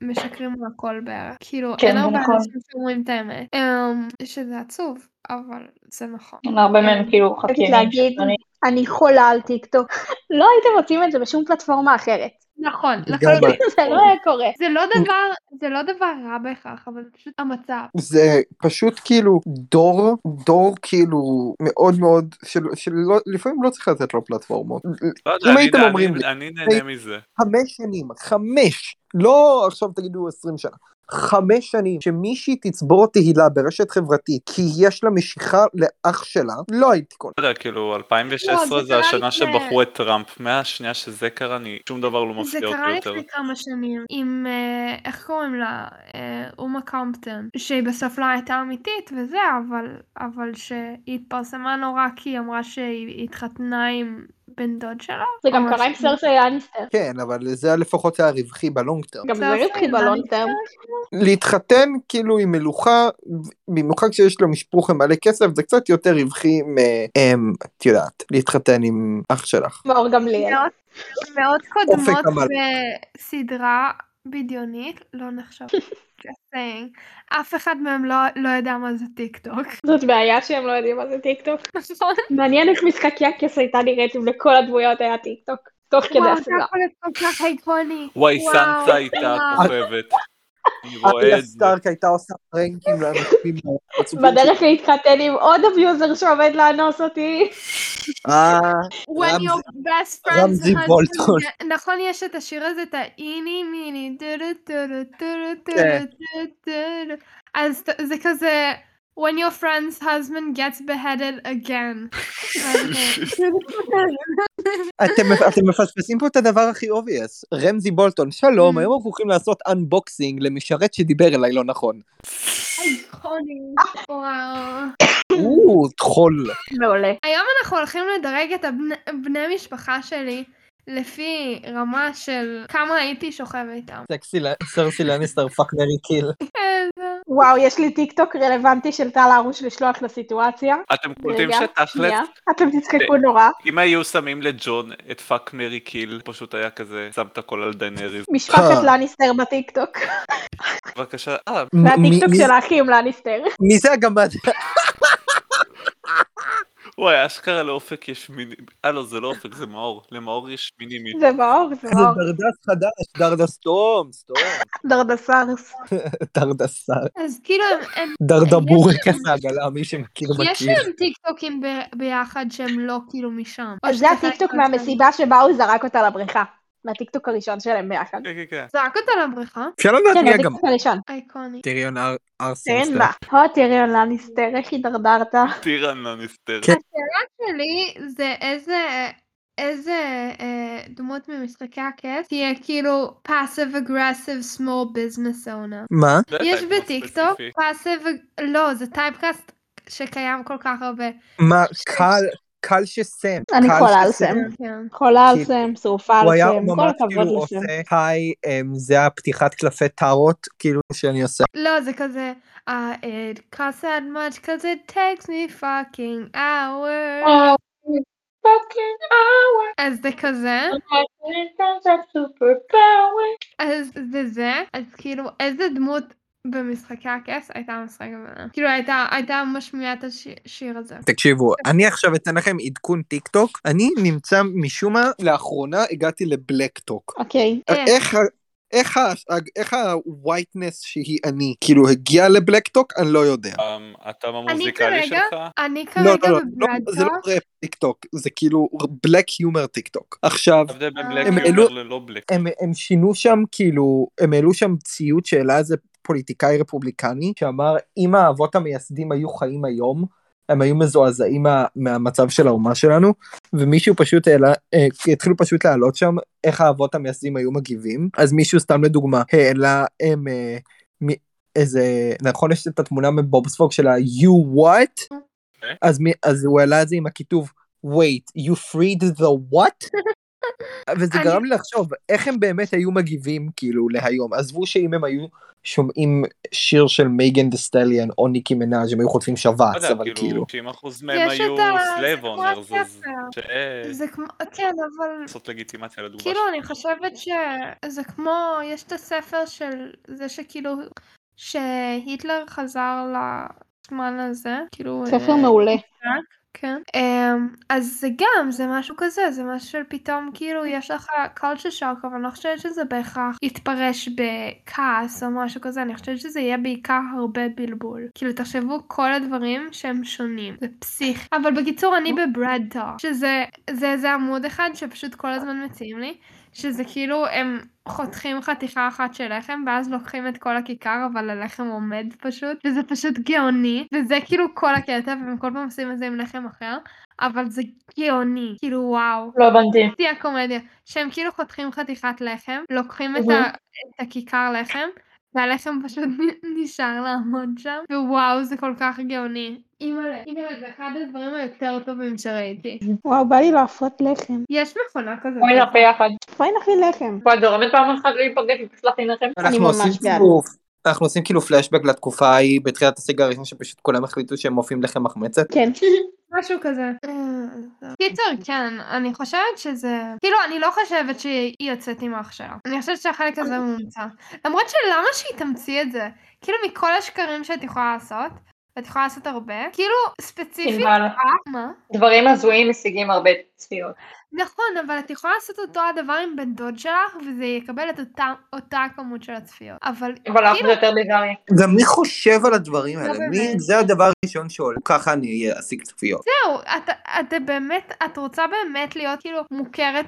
S1: הם משקרים על הכל בערך, כאילו
S4: כן,
S1: אין
S4: זה
S1: הרבה
S4: נכון.
S1: אנשים שאומרים את האמת, אמ, שזה עצוב, אבל זה נכון.
S4: הרבה מהם כאילו חכים.
S2: רציתי להגיד, אני חולה על טיקטוק. *laughs* לא הייתם מוצאים את זה בשום פלטפורמה אחרת.
S1: נכון,
S3: לגמרי.
S1: לחלוטין.
S2: *laughs* זה לא היה קורה.
S1: זה לא דבר, זה לא דבר רע בהכרח, אבל זה פשוט המצב.
S3: זה פשוט כאילו דור, דור כאילו מאוד מאוד, של, שלא, לפעמים לא צריך לתת לו פלטפורמות.
S5: לא יודע,
S3: אם
S5: אני-
S3: הייתם
S5: אני-
S3: אומרים לי-
S5: אני נהנה מזה.
S3: חמש שנים, חמש, לא עכשיו תגידו עשרים שנה. חמש שנים שמישהי תצבור תהילה ברשת חברתית כי יש לה משיכה לאח שלה, לא הייתי קונה.
S5: לא יודע, כאילו,
S1: לא,
S5: 2016
S1: זה
S5: זה
S1: קרה
S5: השנה
S1: לפני-
S5: שבחרו את טראמפ. מהשנייה שזה קרה, אני, שום דבר לא
S1: זה
S5: מפתיע אותי
S1: קרה
S5: יותר.
S1: לפני כמה שנים עם, אה, איך קוראים לה? אה, אומה קומפטון, שהיא בסוף לא הייתה אמיתית וזה, אבל, אבל שהיא התפרסמה נורא כי היא אמרה שהיא התחתנה עם בן דוד שלה.
S2: זה גם
S1: או
S2: קרה עם
S1: משהו.
S2: סרסי אניסטר.
S3: כן, אבל זה לפחות היה רווחי בלונג טרם.
S2: גם זה
S1: סרסי
S2: רווחי בלון
S1: אניסטר?
S2: טרם.
S3: להתחתן כאילו עם מלוכה, במיוחד כשיש לה משפוך עם מלא כסף, זה קצת יותר רווחי מהם, את יודעת, להתחתן עם אח שלך.
S2: מאור גמליאל.
S1: מאוד- מאוד קודמות
S3: עמל.
S1: בסדרה בדיונית, לא נחשב. Just saying. אף אחד מהם לא, לא יודע מה זה טיקטוק.
S2: זאת בעיה שהם לא יודעים מה זה טיקטוק.
S1: נכון?
S2: מעניין איך משחק יקס הייתה נראית אם לכל הדמויות היה טיקטוק, תוך כדי
S1: *laughs* וואו, זה
S2: הסדרה.
S1: יכול להיות כל כך איקוני.
S5: וואי,
S1: וואו,
S5: סנצה הייתה
S1: וואו.
S5: הכוכבת. אני רואה
S3: אריה
S5: את זה.
S3: סטארק הייתה עושה פרנקים לאנשים בציבור.
S2: בדרך להתחתן עם עוד אביוזר שעומד לאנוס אותי.
S3: אה,
S1: When your best friend's
S3: רמזי
S1: husband-
S3: בולטון.
S1: נכון, יש את השיר הזה, את האיני מיני, טורו טורו טורו
S3: כן.
S1: טורו טורו טורו. אז ת- זה כזה, When your friend's husband gets beheaded
S3: *laughs*
S1: again.
S3: אתם- אתם מפספסים פה את הדבר הכי אובייס. רמזי בולטון, שלום,
S1: Mm.
S3: היום אנחנו הולכים לעשות אנבוקסינג למשרת שדיבר אליי לא נכון.
S1: איקוני. וואו.
S3: או, טחול.
S2: מעולה.
S1: היום אנחנו הולכים לדרג את הבני- בני משפחה שלי לפי רמה של כמה הייתי שוכב איתם.
S3: סקסי, ל- סרסי לניסטר פאק מרי קיל.
S1: איזה-
S2: וואו, יש לי טיקטוק רלוונטי של טל הרוש לשלוח לסיטואציה.
S5: אתם קולטים
S2: רגע,
S5: שתכלס,
S2: שנייה. אתם תצחקו נורא.
S5: אם היו שמים לג'ון את פאק מרי קיל, פשוט היה כזה, שם את הכל על דנריז.
S2: משפחת
S3: אה.
S2: לניסטר בטיקטוק.
S5: בבקשה, אה,
S2: זה
S3: מ-
S2: הטיקטוק
S3: מי-
S2: של האחים לניסטר.
S3: מי זה הגמד?
S5: וואי, אשכרה לאופק יש מיני... אה, לא, זה לא אופק, זה מאור. למאור יש מינימי.
S2: זה מאור, זה
S3: זה
S2: מאור.
S3: דרדס חדש, דרדס תום, סתום.
S2: דרדסרס.
S3: דרדס שר.
S1: אז כאילו הם- הם
S3: דרדבורקס העגלה, מי שמכיר
S1: יש
S3: מכיר.
S1: להם טיקטוקים ב- ביחד שהם לא כאילו משם. או
S2: זה
S1: שזה
S2: הטיקטוק
S1: אחד שלהם.
S2: מהמסיבה שבה הוא זרק אותה לבריכה. מהטיקטוק הראשון שלהם ביחד.
S5: כן, כן, כן.
S1: זרק אותה לבריכה?
S7: אפשר לדעת
S2: כן,
S7: מי הגמר?
S2: מהטיקטוק הראשון.
S1: אייקוני.
S5: כן.
S7: טיריון אר-
S2: תראיין
S7: ארסנסטר.
S2: לה. הו, תראיין לה, נסתר, איך הידרדרת.
S5: טירנה נסתרת.
S7: כן.
S1: שלי זה איזה... איזה אה, דמות ממשחקי הכס תהיה כאילו passive aggressive small business owner.
S3: מה?
S5: זה
S1: יש
S5: טייפ מאוד
S1: בטיקטוק
S5: ספציפי.
S1: passive... לא, זה טייפקאסט שקיים כל כך הרבה.
S3: מה, קל, קל שסם.
S2: אני
S3: קל
S2: חולה על
S3: שסם.
S2: סם.
S1: כן.
S2: חולה על
S3: כי-
S2: סם, שרופה
S3: הוא
S2: על
S3: היה
S2: סם, כל
S3: ממש כאילו
S2: הכבוד לסם.
S3: עושה, היי, אמ, זה הפתיחת קלפי טארות, כאילו שאני עושה.
S1: לא, זה כזה, uh, it costs that much cause it takes me fucking hours.
S4: אה. Fucking hour,
S1: אז זה כזה,
S4: my friends are superpower.
S1: אז זה זה, אז כאילו, איזה דמות במשחקי הכס הייתה משחקת ממנה? כאילו, הייתה, הייתה משמיעה את השיר הזה.
S7: תקשיבו,
S3: אני עכשיו אתן לכם עדכון טיק טוק, אני נמצא משום מה, לאחרונה הגעתי לבלק טוק.
S2: אוקיי.
S1: איך?
S3: איך ה... איך, ה... איך ה-whiteness שהיא אני, כאילו הגיעה לבלקטוק, אני לא יודע.
S5: אמ, הטעם המוזיקלי
S1: כרגע-
S5: שלך?
S1: אני
S3: לא, לא,
S1: כרגע
S3: לא, לא, זה לא
S1: בברדטוק,
S3: ראפ טיקטוק, זה כאילו בלק היומר טיקטוק. עכשיו,
S5: ההבדל בין
S1: אה.
S5: בלק
S1: הם
S5: יומר
S3: העלו-
S5: ללא בלק.
S3: הם, הם שינו שם כאילו, הם העלו שם ציוט שהעלה איזה פוליטיקאי רפובליקני, שאמר אם האבות המייסדים היו חיים היום, הם היו מזועזעים מה, מהמצב של האומה שלנו, ומישהו פשוט העלה, אה, התחילו פשוט להעלות שם איך האבות המייסדים היו מגיבים, אז מישהו סתם לדוגמה העלה הם, אה, מ, איזה, נכון יש את התמונה מבובספוג של ה-you what?
S5: אוקיי.
S3: אז, מי, אז הוא העלה את זה עם הכיתוב wait, you freed the what? וזה
S1: אני-
S3: גרם לי לחשוב איך הם באמת היו מגיבים כאילו להיום עזבו שאם הם היו שומעים שיר של מייגן דה סטליאן או ניקי מנאז' הם היו חוטפים
S5: לא
S3: שבץ
S5: יודע,
S3: אבל
S5: כאילו,
S3: כאילו
S5: 90% מהם
S1: יש
S5: היו
S1: את ה-
S5: slave
S1: זה כמו
S5: owners, אז
S1: הספר.
S5: שאה,
S1: זה כמו, כן, אבל...
S5: לעשות לגיטימציה לדוגמה
S1: כאילו,
S5: שלך.
S1: אני חושבת שזה כמו, יש את הספר של זה שכאילו, שהיטלר חזר לזמן הזה, כאילו...
S2: ספר
S1: אה,
S2: מעולה.
S1: כן. אמ, אז זה גם, זה משהו כזה, זה משהו של פתאום, כאילו, יש לך culture shock, אבל אני לא חושבת שזה בהכרח יתפרש בכעס או משהו כזה, אני חושבת שזה יהיה בעיקר הרבה בלבול. כאילו, תחשבו כל הדברים שהם שונים, זה פסיכי. אבל בקיצור, אני בברד טוק, שזה זה, זה עמוד אחד שפשוט כל הזמן מציעים לי, שזה כאילו, הם... חותכים חתיכה אחת של לחם, ואז לוקחים את כל הכיכר, אבל הלחם עומד פשוט, וזה פשוט גאוני, וזה כאילו כל הקטע, והם כל פעם עושים את זה עם לחם אחר, אבל זה גאוני, כאילו וואו.
S4: לא הבנתי.
S1: שיא הקומדיה, שהם כאילו חותכים חתיכת לחם, לוקחים את,
S4: מהמם.
S1: ה, את הכיכר לחם, והלחם פשוט נ- נשאר לעמוד שם, ווואו, זה כל כך גאוני. אימא'לה, אימא'לה, זה אחד הדברים היותר טובים שראיתי.
S2: וואו, בא לי להפרות לחם.
S1: יש מכונה כזאת.
S4: בואי נרפה יחד.
S2: בואי נכין לחם.
S4: וואי, זורמת פעם אחת לא להיפגש ותסלח לי לכם.
S3: אנחנו
S2: ממש
S3: עושים
S2: בעד.
S3: כאילו אנחנו עושים כאילו פלשבק לתקופה ההיא בתחילת הסגר הראשון שפשוט כולם החליטו שהם מופיעים לחם מחמצת.
S1: *laughs*
S2: כן.
S1: משהו כזה. קיצר, כן, אני חושבת שזה... כאילו, אני לא חושבת שהיא יוצאת עם אח שלה. אני חושבת שהחלק הזה מומצא. למרות שלמה שהיא תמציא את זה? כאילו, מכל השקרים שאת יכולה לעשות, ואת יכולה לעשות הרבה, כאילו, ספציפית...
S4: ענבל,
S1: אה, מה?
S4: דברים הזויים משיגים הרבה צפיות.
S1: נכון, אבל את יכולה לעשות אותו הדבר עם בן דוד שלך, וזה יקבל את אותה, אותה הכמות של הצפיות. אבל
S4: אבל אף
S1: כאילו,
S4: זה יותר ביזארי.
S3: גם מי חושב על הדברים האלה?
S1: לא
S3: מי-
S1: באמת.
S3: זה הדבר הראשון שעולה. ככה אני אהיה אשיג צפיות.
S1: זהו, את, את באמת, את רוצה באמת להיות כאילו מוכרת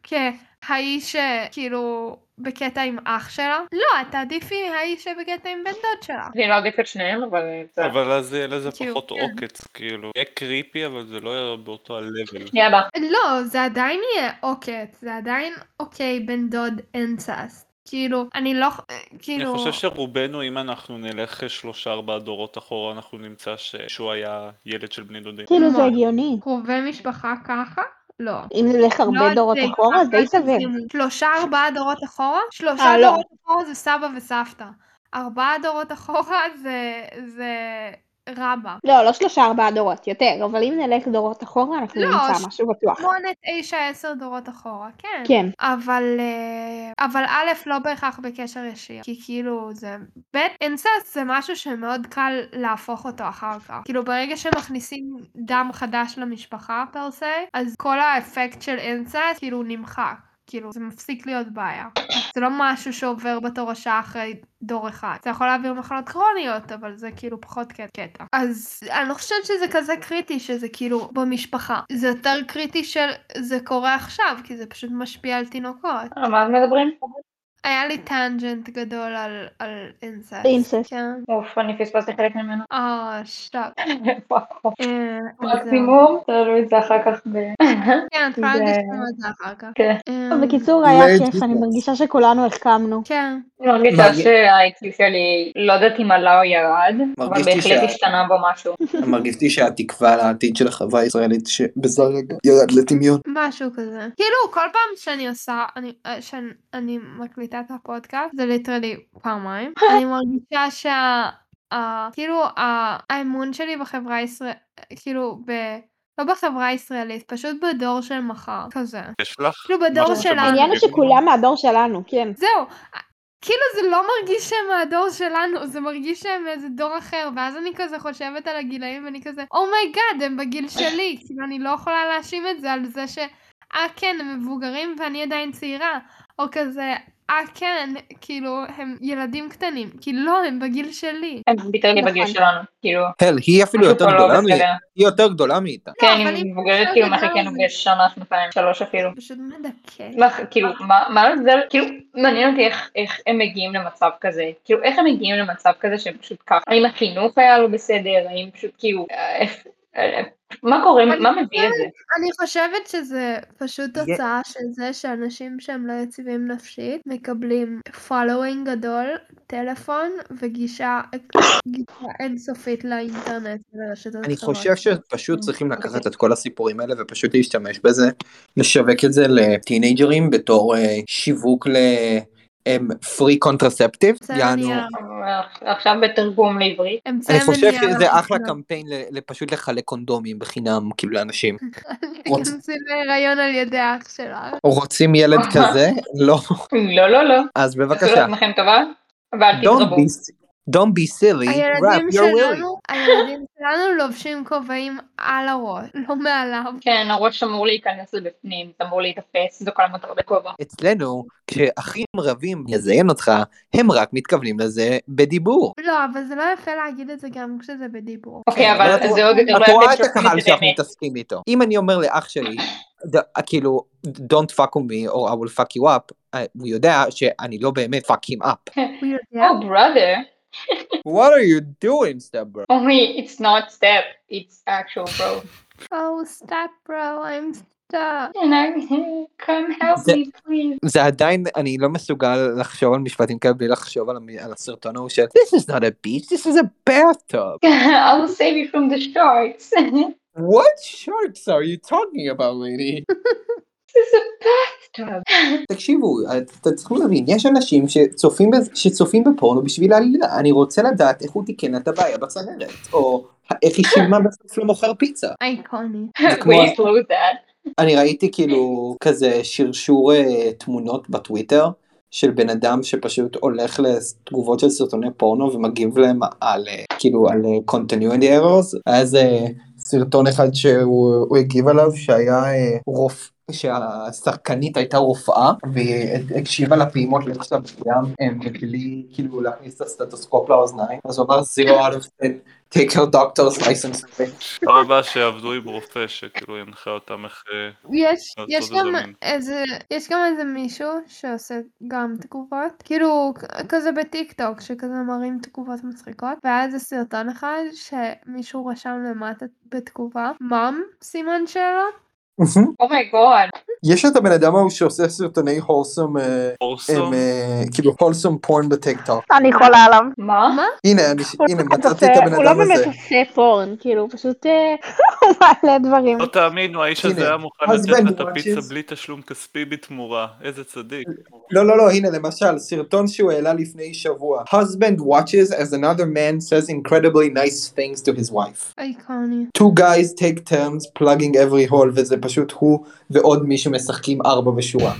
S1: כהאיש שכאילו בקטע עם אח שלה? לא, את תעדיפי האיש שבקטע עם בן דוד שלה.
S4: אני לא אעדיף את שניהם, אבל... אה, בסדר.
S5: אבל אז יהיה לזה
S1: כאילו,
S5: פחות
S1: כן.
S5: עוקץ, כאילו. יהיה קריפי, אבל זה לא יהיה באותו ה-level.
S4: שנייה הבאה.
S1: לא, זה עדיין יהיה עוקץ, זה עדיין אוקיי, בן דוד אינסס. כאילו, אני לא, ח-
S5: אני
S1: כאילו,
S5: חושב שרובנו, אם אנחנו נלך שלושה ארבעה דורות אחורה, אנחנו נמצא שהוא היה ילד של בני דודים.
S2: כאילו זה
S1: מה?
S2: הגיוני.
S1: קרובי משפחה ככה? לא.
S2: אם נלך הרבה
S1: לא,
S2: דורות
S1: זה
S2: אחורה,
S1: כבר
S2: די סביר.
S1: עשינו. שלושה ארבעה דורות אחורה? שלושה
S2: אה, לא.
S1: דורות אחורה זה סבא וסבתא. ארבעה דורות אחורה זה, זה רבא.
S2: לא, לא שלושה ארבעה דורות, יותר, אבל אם נלך דורות אחורה, אנחנו
S1: לא, ש-
S2: נמצא משהו בטוח.
S1: שמונה, תשע, עשר דורות אחורה, כן.
S2: כן.
S1: אבל, אה, אבל א', לא בהכרח בקשר ישיר, כי כאילו זה... ב', אינסס זה משהו שמאוד קל להפוך אותו אחר כך. כאילו ברגע שמכניסים דם חדש למשפחה פר סה, אז כל האפקט של אינסס כאילו נמחק. כאילו, זה מפסיק להיות בעיה. זה לא משהו שעובר בתור השעה אחרי דור אחד. זה יכול להעביר מחלות קרוניות, אבל זה כאילו פחות קט- קטע. אז אני לא חושבת שזה כזה קריטי, שזה כאילו במשפחה. זה יותר קריטי של זה קורה עכשיו, כי זה פשוט משפיע על תינוקות.
S4: על מה מדברים?
S1: היה לי טנג'נט גדול על, על אינססט.
S2: באינססט.
S1: כן.
S4: אוף, אני פספסתי חלק ממנו.
S1: אה,
S2: *laughs*
S1: שטאפ.
S4: *laughs* וואו.
S1: אה, זהו.
S4: מקסימום, תעלו את זה אחר כך ב...
S1: כן, את יכולה
S4: זה-
S1: לשמוע את זה אחר כך.
S4: *laughs* כן.
S1: אה,
S2: טוב, בקיצור, היה
S3: Let's
S2: כיף, אני
S3: discuss.
S2: מרגישה שכולנו החכמנו.
S1: כן.
S4: אני מרגישה
S3: מרגיש-
S4: שה-IQ שלי, לא יודעת אם עלה או ירד, אבל
S3: מרגיש לי
S4: בהחלט
S3: שה-
S4: השתנה בו משהו.
S3: מרגישתי שהתקווה לעתיד של החברה הישראלית שבזה רגע ירד לטמיון.
S1: משהו כזה. כאילו, כל פעם שאני עושה, אני, אה, שאני מקליטה את הפודקאסט, זה ליטרלי פעמיים. אני מרגישה שה... ה- כאילו, ה- האמון שלי בחברה הישראלית, כאילו, ב... לא בחברה הישראלית, פשוט בדור של מחר, כזה.
S5: יש לך?
S1: כאילו, בדור
S5: משהו
S1: שלנו.
S2: העניין הוא שכולם מהדור שלנו, כן.
S1: זהו. כאילו זה לא מרגיש שהם מהדור שלנו, זה מרגיש שהם מאיזה דור אחר, ואז אני כזה חושבת על הגילאים ואני כזה, אומייגאד, הם בגיל שלי, כאילו אני לא יכולה להאשים את זה על זה ש... אה כן, הם מבוגרים ואני עדיין צעירה, או כזה, אה כן, כאילו, הם ילדים קטנים, כי לא, הם בגיל שלי.
S4: הם ביטרלי
S2: נכון.
S4: בגיל שלנו, כאילו.
S3: הל, היא אפילו
S4: משהו
S3: יותר
S4: פה לא
S3: גדולה
S4: בסדר.
S3: מ- היא יותר גדולה מאיתה.
S4: כן,
S1: לא, אבל
S4: היא
S1: אם-
S4: מבוגרת
S1: אפשר
S4: כאילו
S1: לדבר על
S4: מחלקנו
S1: זה.
S4: בשנה, שנתיים, שלוש אפילו.
S1: פשוט מדכא.
S4: לך, כאילו, מה מה ההבדל, כאילו, מעניין אותי איך, איך הם מגיעים למצב כזה, כאילו, איך הם מגיעים למצב כזה שהם פשוט ככה, האם החינוך היה לא בסדר, האם פשוט כאילו, אה, איך, אה, מה קורה,
S1: אני
S4: מה מביא את זה?
S1: אני חושבת שזה פשוט
S3: יה-
S1: תוצאה של זה שאנשים שהם לא יציבים נפשית מקבלים following גדול, טלפון וגישה גישה אינסופית לאינטרנט ולרשתות
S3: אני
S1: חברתיות.
S3: חושב שפשוט צריכים לקחת את כל הסיפורים האלה ופשוט להשתמש בזה, לשווק את זה לטינג'רים בתור אה, שיווק ל... פרי קונטרספטיב,
S1: זה
S3: יענו,
S1: אני-
S4: עכשיו בתרגום לעברית,
S1: אמצעי
S3: אני חושב
S1: מניעה לא.
S3: שזה
S1: *laughs*
S3: אחלה
S1: לחתונה.
S3: קמפיין ל- לפשוט לחלק קונדומים בחינם כאילו
S1: *laughs*
S3: לאנשים. רוצ-
S1: תיכנסי להיריון על ידי אח שלך.
S3: רוצים ילד
S1: *laughs*
S3: כזה? לא.
S4: לא, לא, לא,
S3: אז
S4: תעשו
S3: בבקשה.
S4: לעצמכם טובה, ואל
S3: Don't
S4: תתרבו.
S3: be, don't be silly, wrap
S1: הילדים
S3: your willy.
S1: שלנו, הילדים שלנו לובשים כובעים על הראש, לא מעליו.
S4: כן, הראש אמור להיכנס לבפנים, זה אמור להיתפס, זו כל המטרה בכובע.
S3: אצלנו, כשאחים רבים יזיין אותך, הם רק מתכוונים לזה בדיבור.
S1: לא, אבל זה לא יפה להגיד את זה גם כשזה בדיבור.
S4: אוקיי, אבל
S3: אבל את
S4: זה עוד, זה
S3: את
S1: לא
S4: אולי
S3: רואה
S4: אתם
S3: את
S4: שופטים
S3: הקהל
S4: את זה
S3: שאנחנו
S4: באמת.
S3: מתעסקים איתו. אם אני אומר לאח שלי, ד- כאילו, don't fuck with me or I will fuck you up, אה, הוא יודע שאני לא באמת fuck him up.
S1: *laughs* הוא יודע.
S4: Oh brother,
S3: What are you doing, stubber?
S4: only it's not step, it's actual bro.
S1: Oh, stop, bro, I'm stuck.
S4: And I, come help
S3: זה-
S4: me please. *laughs*
S3: זה עדיין, אני לא מסוגל לחשוב על משפטים כאלה בלי לחשוב על המ- על הסרטון ההוא של This is not a beach, this is a bathtub.
S4: I will save you from the sharks. *laughs* this
S3: What sharks are you talking about, lady?
S4: is a bathtub.
S3: תקשיבו, אתם צריכים להבין, יש אנשים שצופים, בז- שצופים בפורנו בשביל העלילה. אני רוצה לדעת איך הוא תיקן את הבעיה בצנרת, או איך היא שילמה בסוף למוכר פיצה.
S1: אייקוני.
S3: כמו-
S4: Will you close that?
S3: אני ראיתי כאילו כזה שרשור אה, תמונות בטוויטר של בן אדם שפשוט הולך לתגובות של סרטוני פורנו ומגיב להם על אה, כאילו על אה, continuity errors. היה איזה סרטון אחד שהוא הוא הגיב עליו שהיה אה, רופ... שהשחקנית הייתה רופאה והיא הקשיבה לפעימות לאיך שאתה מסוים אה, מבלי כאילו להכניס את הסטטוסקופ לאוזניים אז הוא אמר zero out of 10 take your doctor's license away.
S5: פעם הבאה שיעבדו עם רופא שכאילו ינחה אותם איך... אה,
S1: יש,
S5: לעשות
S1: יש
S5: את זה
S1: גם
S5: זמין.
S1: איזה, יש גם איזה מישהו שעושה גם תגובות, כאילו כ- כזה בטיקטוק, שכזה מראים תגובות מצחיקות, והיה איזה סרטון אחד שמישהו רשם למטה בתגובה, מם, סימן שאלה,
S4: Oh my god.
S3: יש את הבן אדם ההוא שעושה סרטוני הולסום
S5: אורסום?
S3: הם אה, כאילו הולסום פורן בטיק טוק.
S2: אני חולה עליו.
S4: מה?
S1: מה?
S3: הנה, אני-
S2: הוא
S3: הנה,
S2: לא באמת
S3: מצאתי את
S2: עושה-
S3: הבן
S2: הוא לא
S3: אדם
S2: באמת
S3: הזה.
S2: עושה פורן, כאילו, הוא פשוט
S3: *laughs*
S2: אה, הוא מעלה דברים.
S5: לא תאמינו, האיש
S3: אה, הנה,
S5: הזה היה מוכן
S3: husband
S5: לתת לה את
S3: watches.
S5: הפיצה בלי תשלום כספי בתמורה. איזה צדיק.
S3: לא, לא, לא, הנה, למשל, סרטון שהוא העלה לפני שבוע. husband watches as another man says incredibly nice things to his wife.
S1: אייקוני.
S3: two guys take turns plugging every hole, וזה פשוט הוא ועוד מישהו משחקים ארבע בשורה.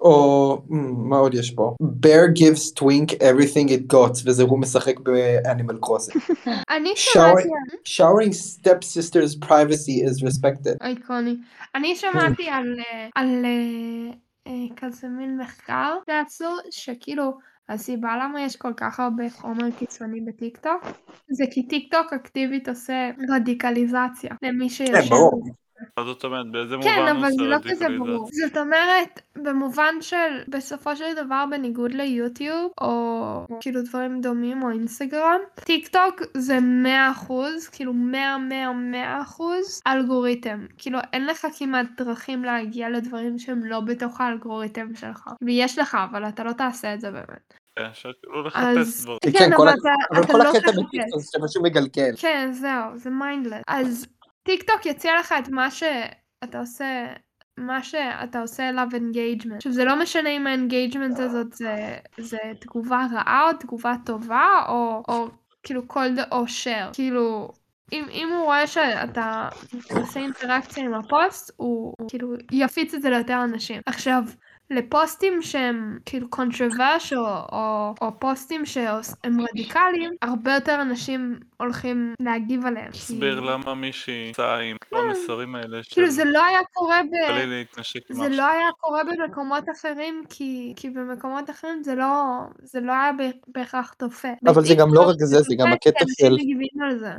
S3: או, מ, מה עוד יש פה? bear gives twink everything it got, וזה הוא משחק באנימל קרוסינג.
S1: אני
S3: שואו-
S1: שמעתי על...
S3: showering stepsister's privacy is respected.
S1: אייקוני. אני שמעתי על... אה, על... אה, אה, כזה מין מחקר שעשו, שכאילו הסיבה למה יש כל כך הרבה חומר קיצוני בטיקטוק, זה כי טיקטוק אקטיבית עושה רדיקליזציה למי שיושב.
S3: ברור.
S5: מה זאת אומרת? באיזה מובן
S1: כן,
S5: הוא
S1: אבל
S5: עושה
S1: זה לא כזה
S5: רדיקליזציה?
S1: ברור. זאת אומרת, במובן של בסופו של דבר, בניגוד ליוטיוב, או כאילו דברים דומים, או אינסטגרם, טיק טוק זה 100%, כאילו 100, 100, 100 אחוז אלגוריתם. כאילו אין לך כמעט דרכים להגיע לדברים שהם לא בתוך האלגוריתם שלך. ויש לך, אבל אתה לא תעשה את זה באמת.
S5: כן, אפשר כאילו
S1: אז-
S5: לחפש דברים.
S3: כן, כל
S1: אבל
S3: ה-
S1: אתה
S3: אבל
S1: אתה
S3: כל
S1: לא
S3: הקטע
S1: תחפש.
S3: בטיקטוק זה פשוט מגלגל.
S1: כן, זהו, זה מיינדלס. אז טיק טוק יציע לך את מה שאתה עושה, מה שאתה עושה אליו אינגייג'מנט. עכשיו, זה לא משנה אם האינגייג'מנט הזאת זה, זה תגובה רעה או תגובה טובה, או, או כאילו כל ד... או share. כאילו, אם, אם הוא רואה שאתה עושה אינטראקציה עם הפוסט, הוא, הוא כאילו יפיץ את זה ליותר אנשים. עכשיו, לפוסטים שהם כאילו controversial או, או, או פוסטים שהם רדיקליים, הרבה יותר אנשים הולכים להגיב עליהם. כי-
S5: תסביר למה מישהי יצאה עם המסרים האלה של...
S1: אה, כאילו זה לא היה קורה ב...
S5: בא לי להתנשק עם
S1: זה
S5: אח
S1: לא
S5: שלי.
S1: היה קורה במקומות אחרים, כי, כי במקומות אחרים זה לא, זה לא היה בהכרח תופס.
S3: אבל זה גם לא רק זה, זה גם הקטע של-
S1: אנשים מגיבים על זה.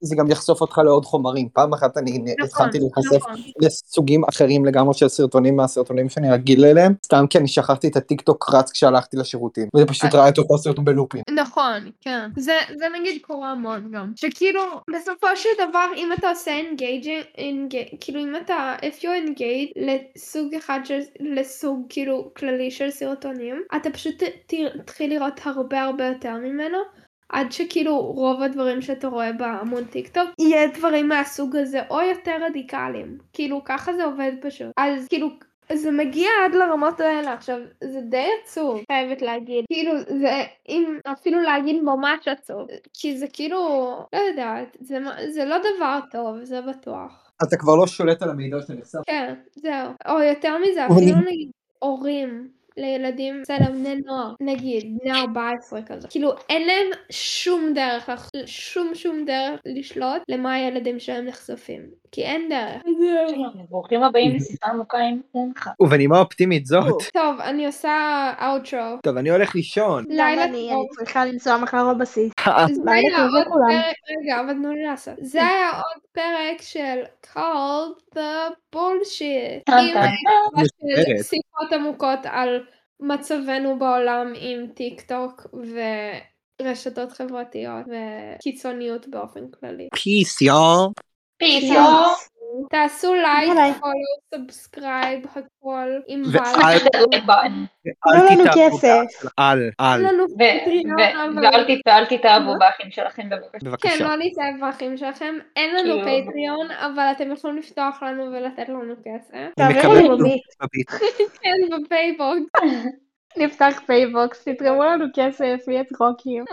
S3: זה גם יחשוף אותך לעוד חומרים. פעם אחת אני
S1: נכון,
S3: התחלתי להיחשף
S1: נכון.
S3: לסוגים אחרים לגמרי של סרטונים מהסרטונים שאני רגיל אליהם, סתם כי אני שכחתי את הטיקטוק רץ כשהלכתי לשירותים, וזה פשוט ראה את אותו סרטון בלופים.
S1: נכון, כן. זה, זה נגיד קורה המון גם. שכאילו, בסופו של דבר, אם אתה עושה engaging, engage, כאילו אם אתה, if you engage לסוג אחד של, לסוג כאילו כללי של סרטונים, אתה פשוט ת- ת- תתחיל לראות הרבה הרבה יותר ממנו. עד שכאילו רוב הדברים שאתה רואה בעמוד טיק טוק יהיה דברים מהסוג הזה או יותר רדיקליים כאילו ככה זה עובד פשוט אז כאילו זה מגיע עד לרמות האלה עכשיו, זה די עצוב, חייבת להגיד. כאילו, זה, אם אפילו להגיד ממש עצוב. כי זה כאילו, לא יודעת, זה, מ- זה לא דבר טוב, זה בטוח.
S3: אתה כבר לא שולט על המידע שנחשף.
S1: כן, זהו. או יותר מזה,
S3: אבל
S1: אפילו
S3: אני-
S1: נגיד הורים לילדים, בסדר, בני נוער, נגיד, בני 14 כזה. כאילו, אין להם שום דרך, לח- שום שום דרך לשלוט למה הילדים שלהם נחשפים. כי אין דרך.
S4: ברוכים הבאים לשיחה עמוקה עם אונחה.
S3: ובנימה אופטימית זאת.
S1: טוב, אני עושה אאוטרו.
S3: טוב, אני הולך לישון.
S1: לילה
S2: גם אני,
S1: טוב.
S2: אני צריכה לנסוע מחר בבסיס.
S1: זה
S2: לילה
S1: היה
S4: לא
S2: טוב
S1: עוד
S2: לכולם.
S1: פרק, רגע, אבל תנו לי לעשות.
S4: כן.
S1: זה היה עוד פרק של called the bullshit.
S4: טן,
S1: עם
S4: טן.
S1: הקבוצה של
S3: מסודרת.
S1: שיחות עמוקות על מצבנו בעולם עם טיק טוק ורשתות חברתיות וקיצוניות באופן כללי.
S3: פיס, יאו.
S4: פיס,
S3: לא.
S2: יאו.
S4: יואו.
S1: תעשו לייק,
S2: ביי.
S1: פולו, סאבסקרייב, הכל, אם
S3: ו-
S1: בא
S3: אל-
S1: לכם.
S4: like button.
S2: תנו לנו
S3: תתאהבו
S2: כסף.
S3: באח של- אל,
S1: אין
S3: אל.
S1: לנו
S4: ו- ו-
S1: פטריון, אבל-
S4: ואל ת- ואל תתאהבו באחים שלכם בבקשה.
S1: כן,
S3: בבקשה.
S1: לא להתאהב באחים שלכם, אין לנו
S4: כאילו-
S1: פטריון, אבל אתם יכולים לפתוח לנו ולתת לנו כסף.
S3: אני
S2: תעבירו
S3: מקבל
S2: לי
S3: כלום
S2: מומית.
S3: בביט.
S1: כן, בפייבוקס.
S2: נפתח פייבוקס, תתרמו לנו כסף, יהיה צחוקים.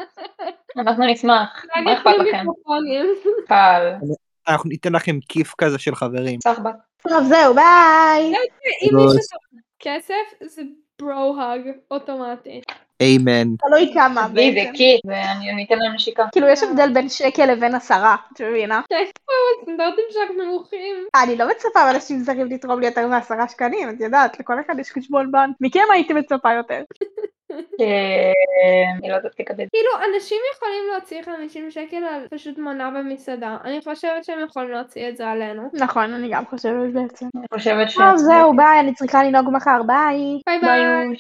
S4: אנחנו נשמח, מה
S1: רק
S4: אכפת
S1: יקנו
S4: לכם?
S1: מיקרופונים.
S4: קל,
S3: אנחנו ניתן לכם כיף כזה של חברים.
S4: סחבק.
S2: טוב, זהו, ביי.
S1: אם
S3: לא.
S1: מישהו צריך כסף, זה ברו-האג אוטומטי.
S3: איימן.
S2: תלוי לא כמה
S4: עזבי, זה
S2: בעצם.
S4: קיט, ואני אני אתן להם נשיקה.
S2: כאילו, יש הבדל בין שקל לבין עשרה, את מבינה?
S1: הסטנדרטים שלך נמוכים.
S2: אני לא מצפה מאנשים זרים לתרום לי יותר מעשרה שקלים, את יודעת, לכל אחד יש חשבון בנק. מכם הייתי מצפה יותר.
S4: אה, אני לא יודעת לקבל.
S1: כאילו, אנשים יכולים להוציא 50 שקל על פשוט מנה במסעדה. אני חושבת שהם יכולים להוציא את זה עלינו.
S2: נכון, אני גם חושבת בעצם.
S4: אני חושבת ש...
S2: טוב, זהו, ביי, אני צריכה לנהוג מחר, ביי.
S1: ביי
S4: ביי,
S1: ביי.
S4: אוש.
S1: ביי.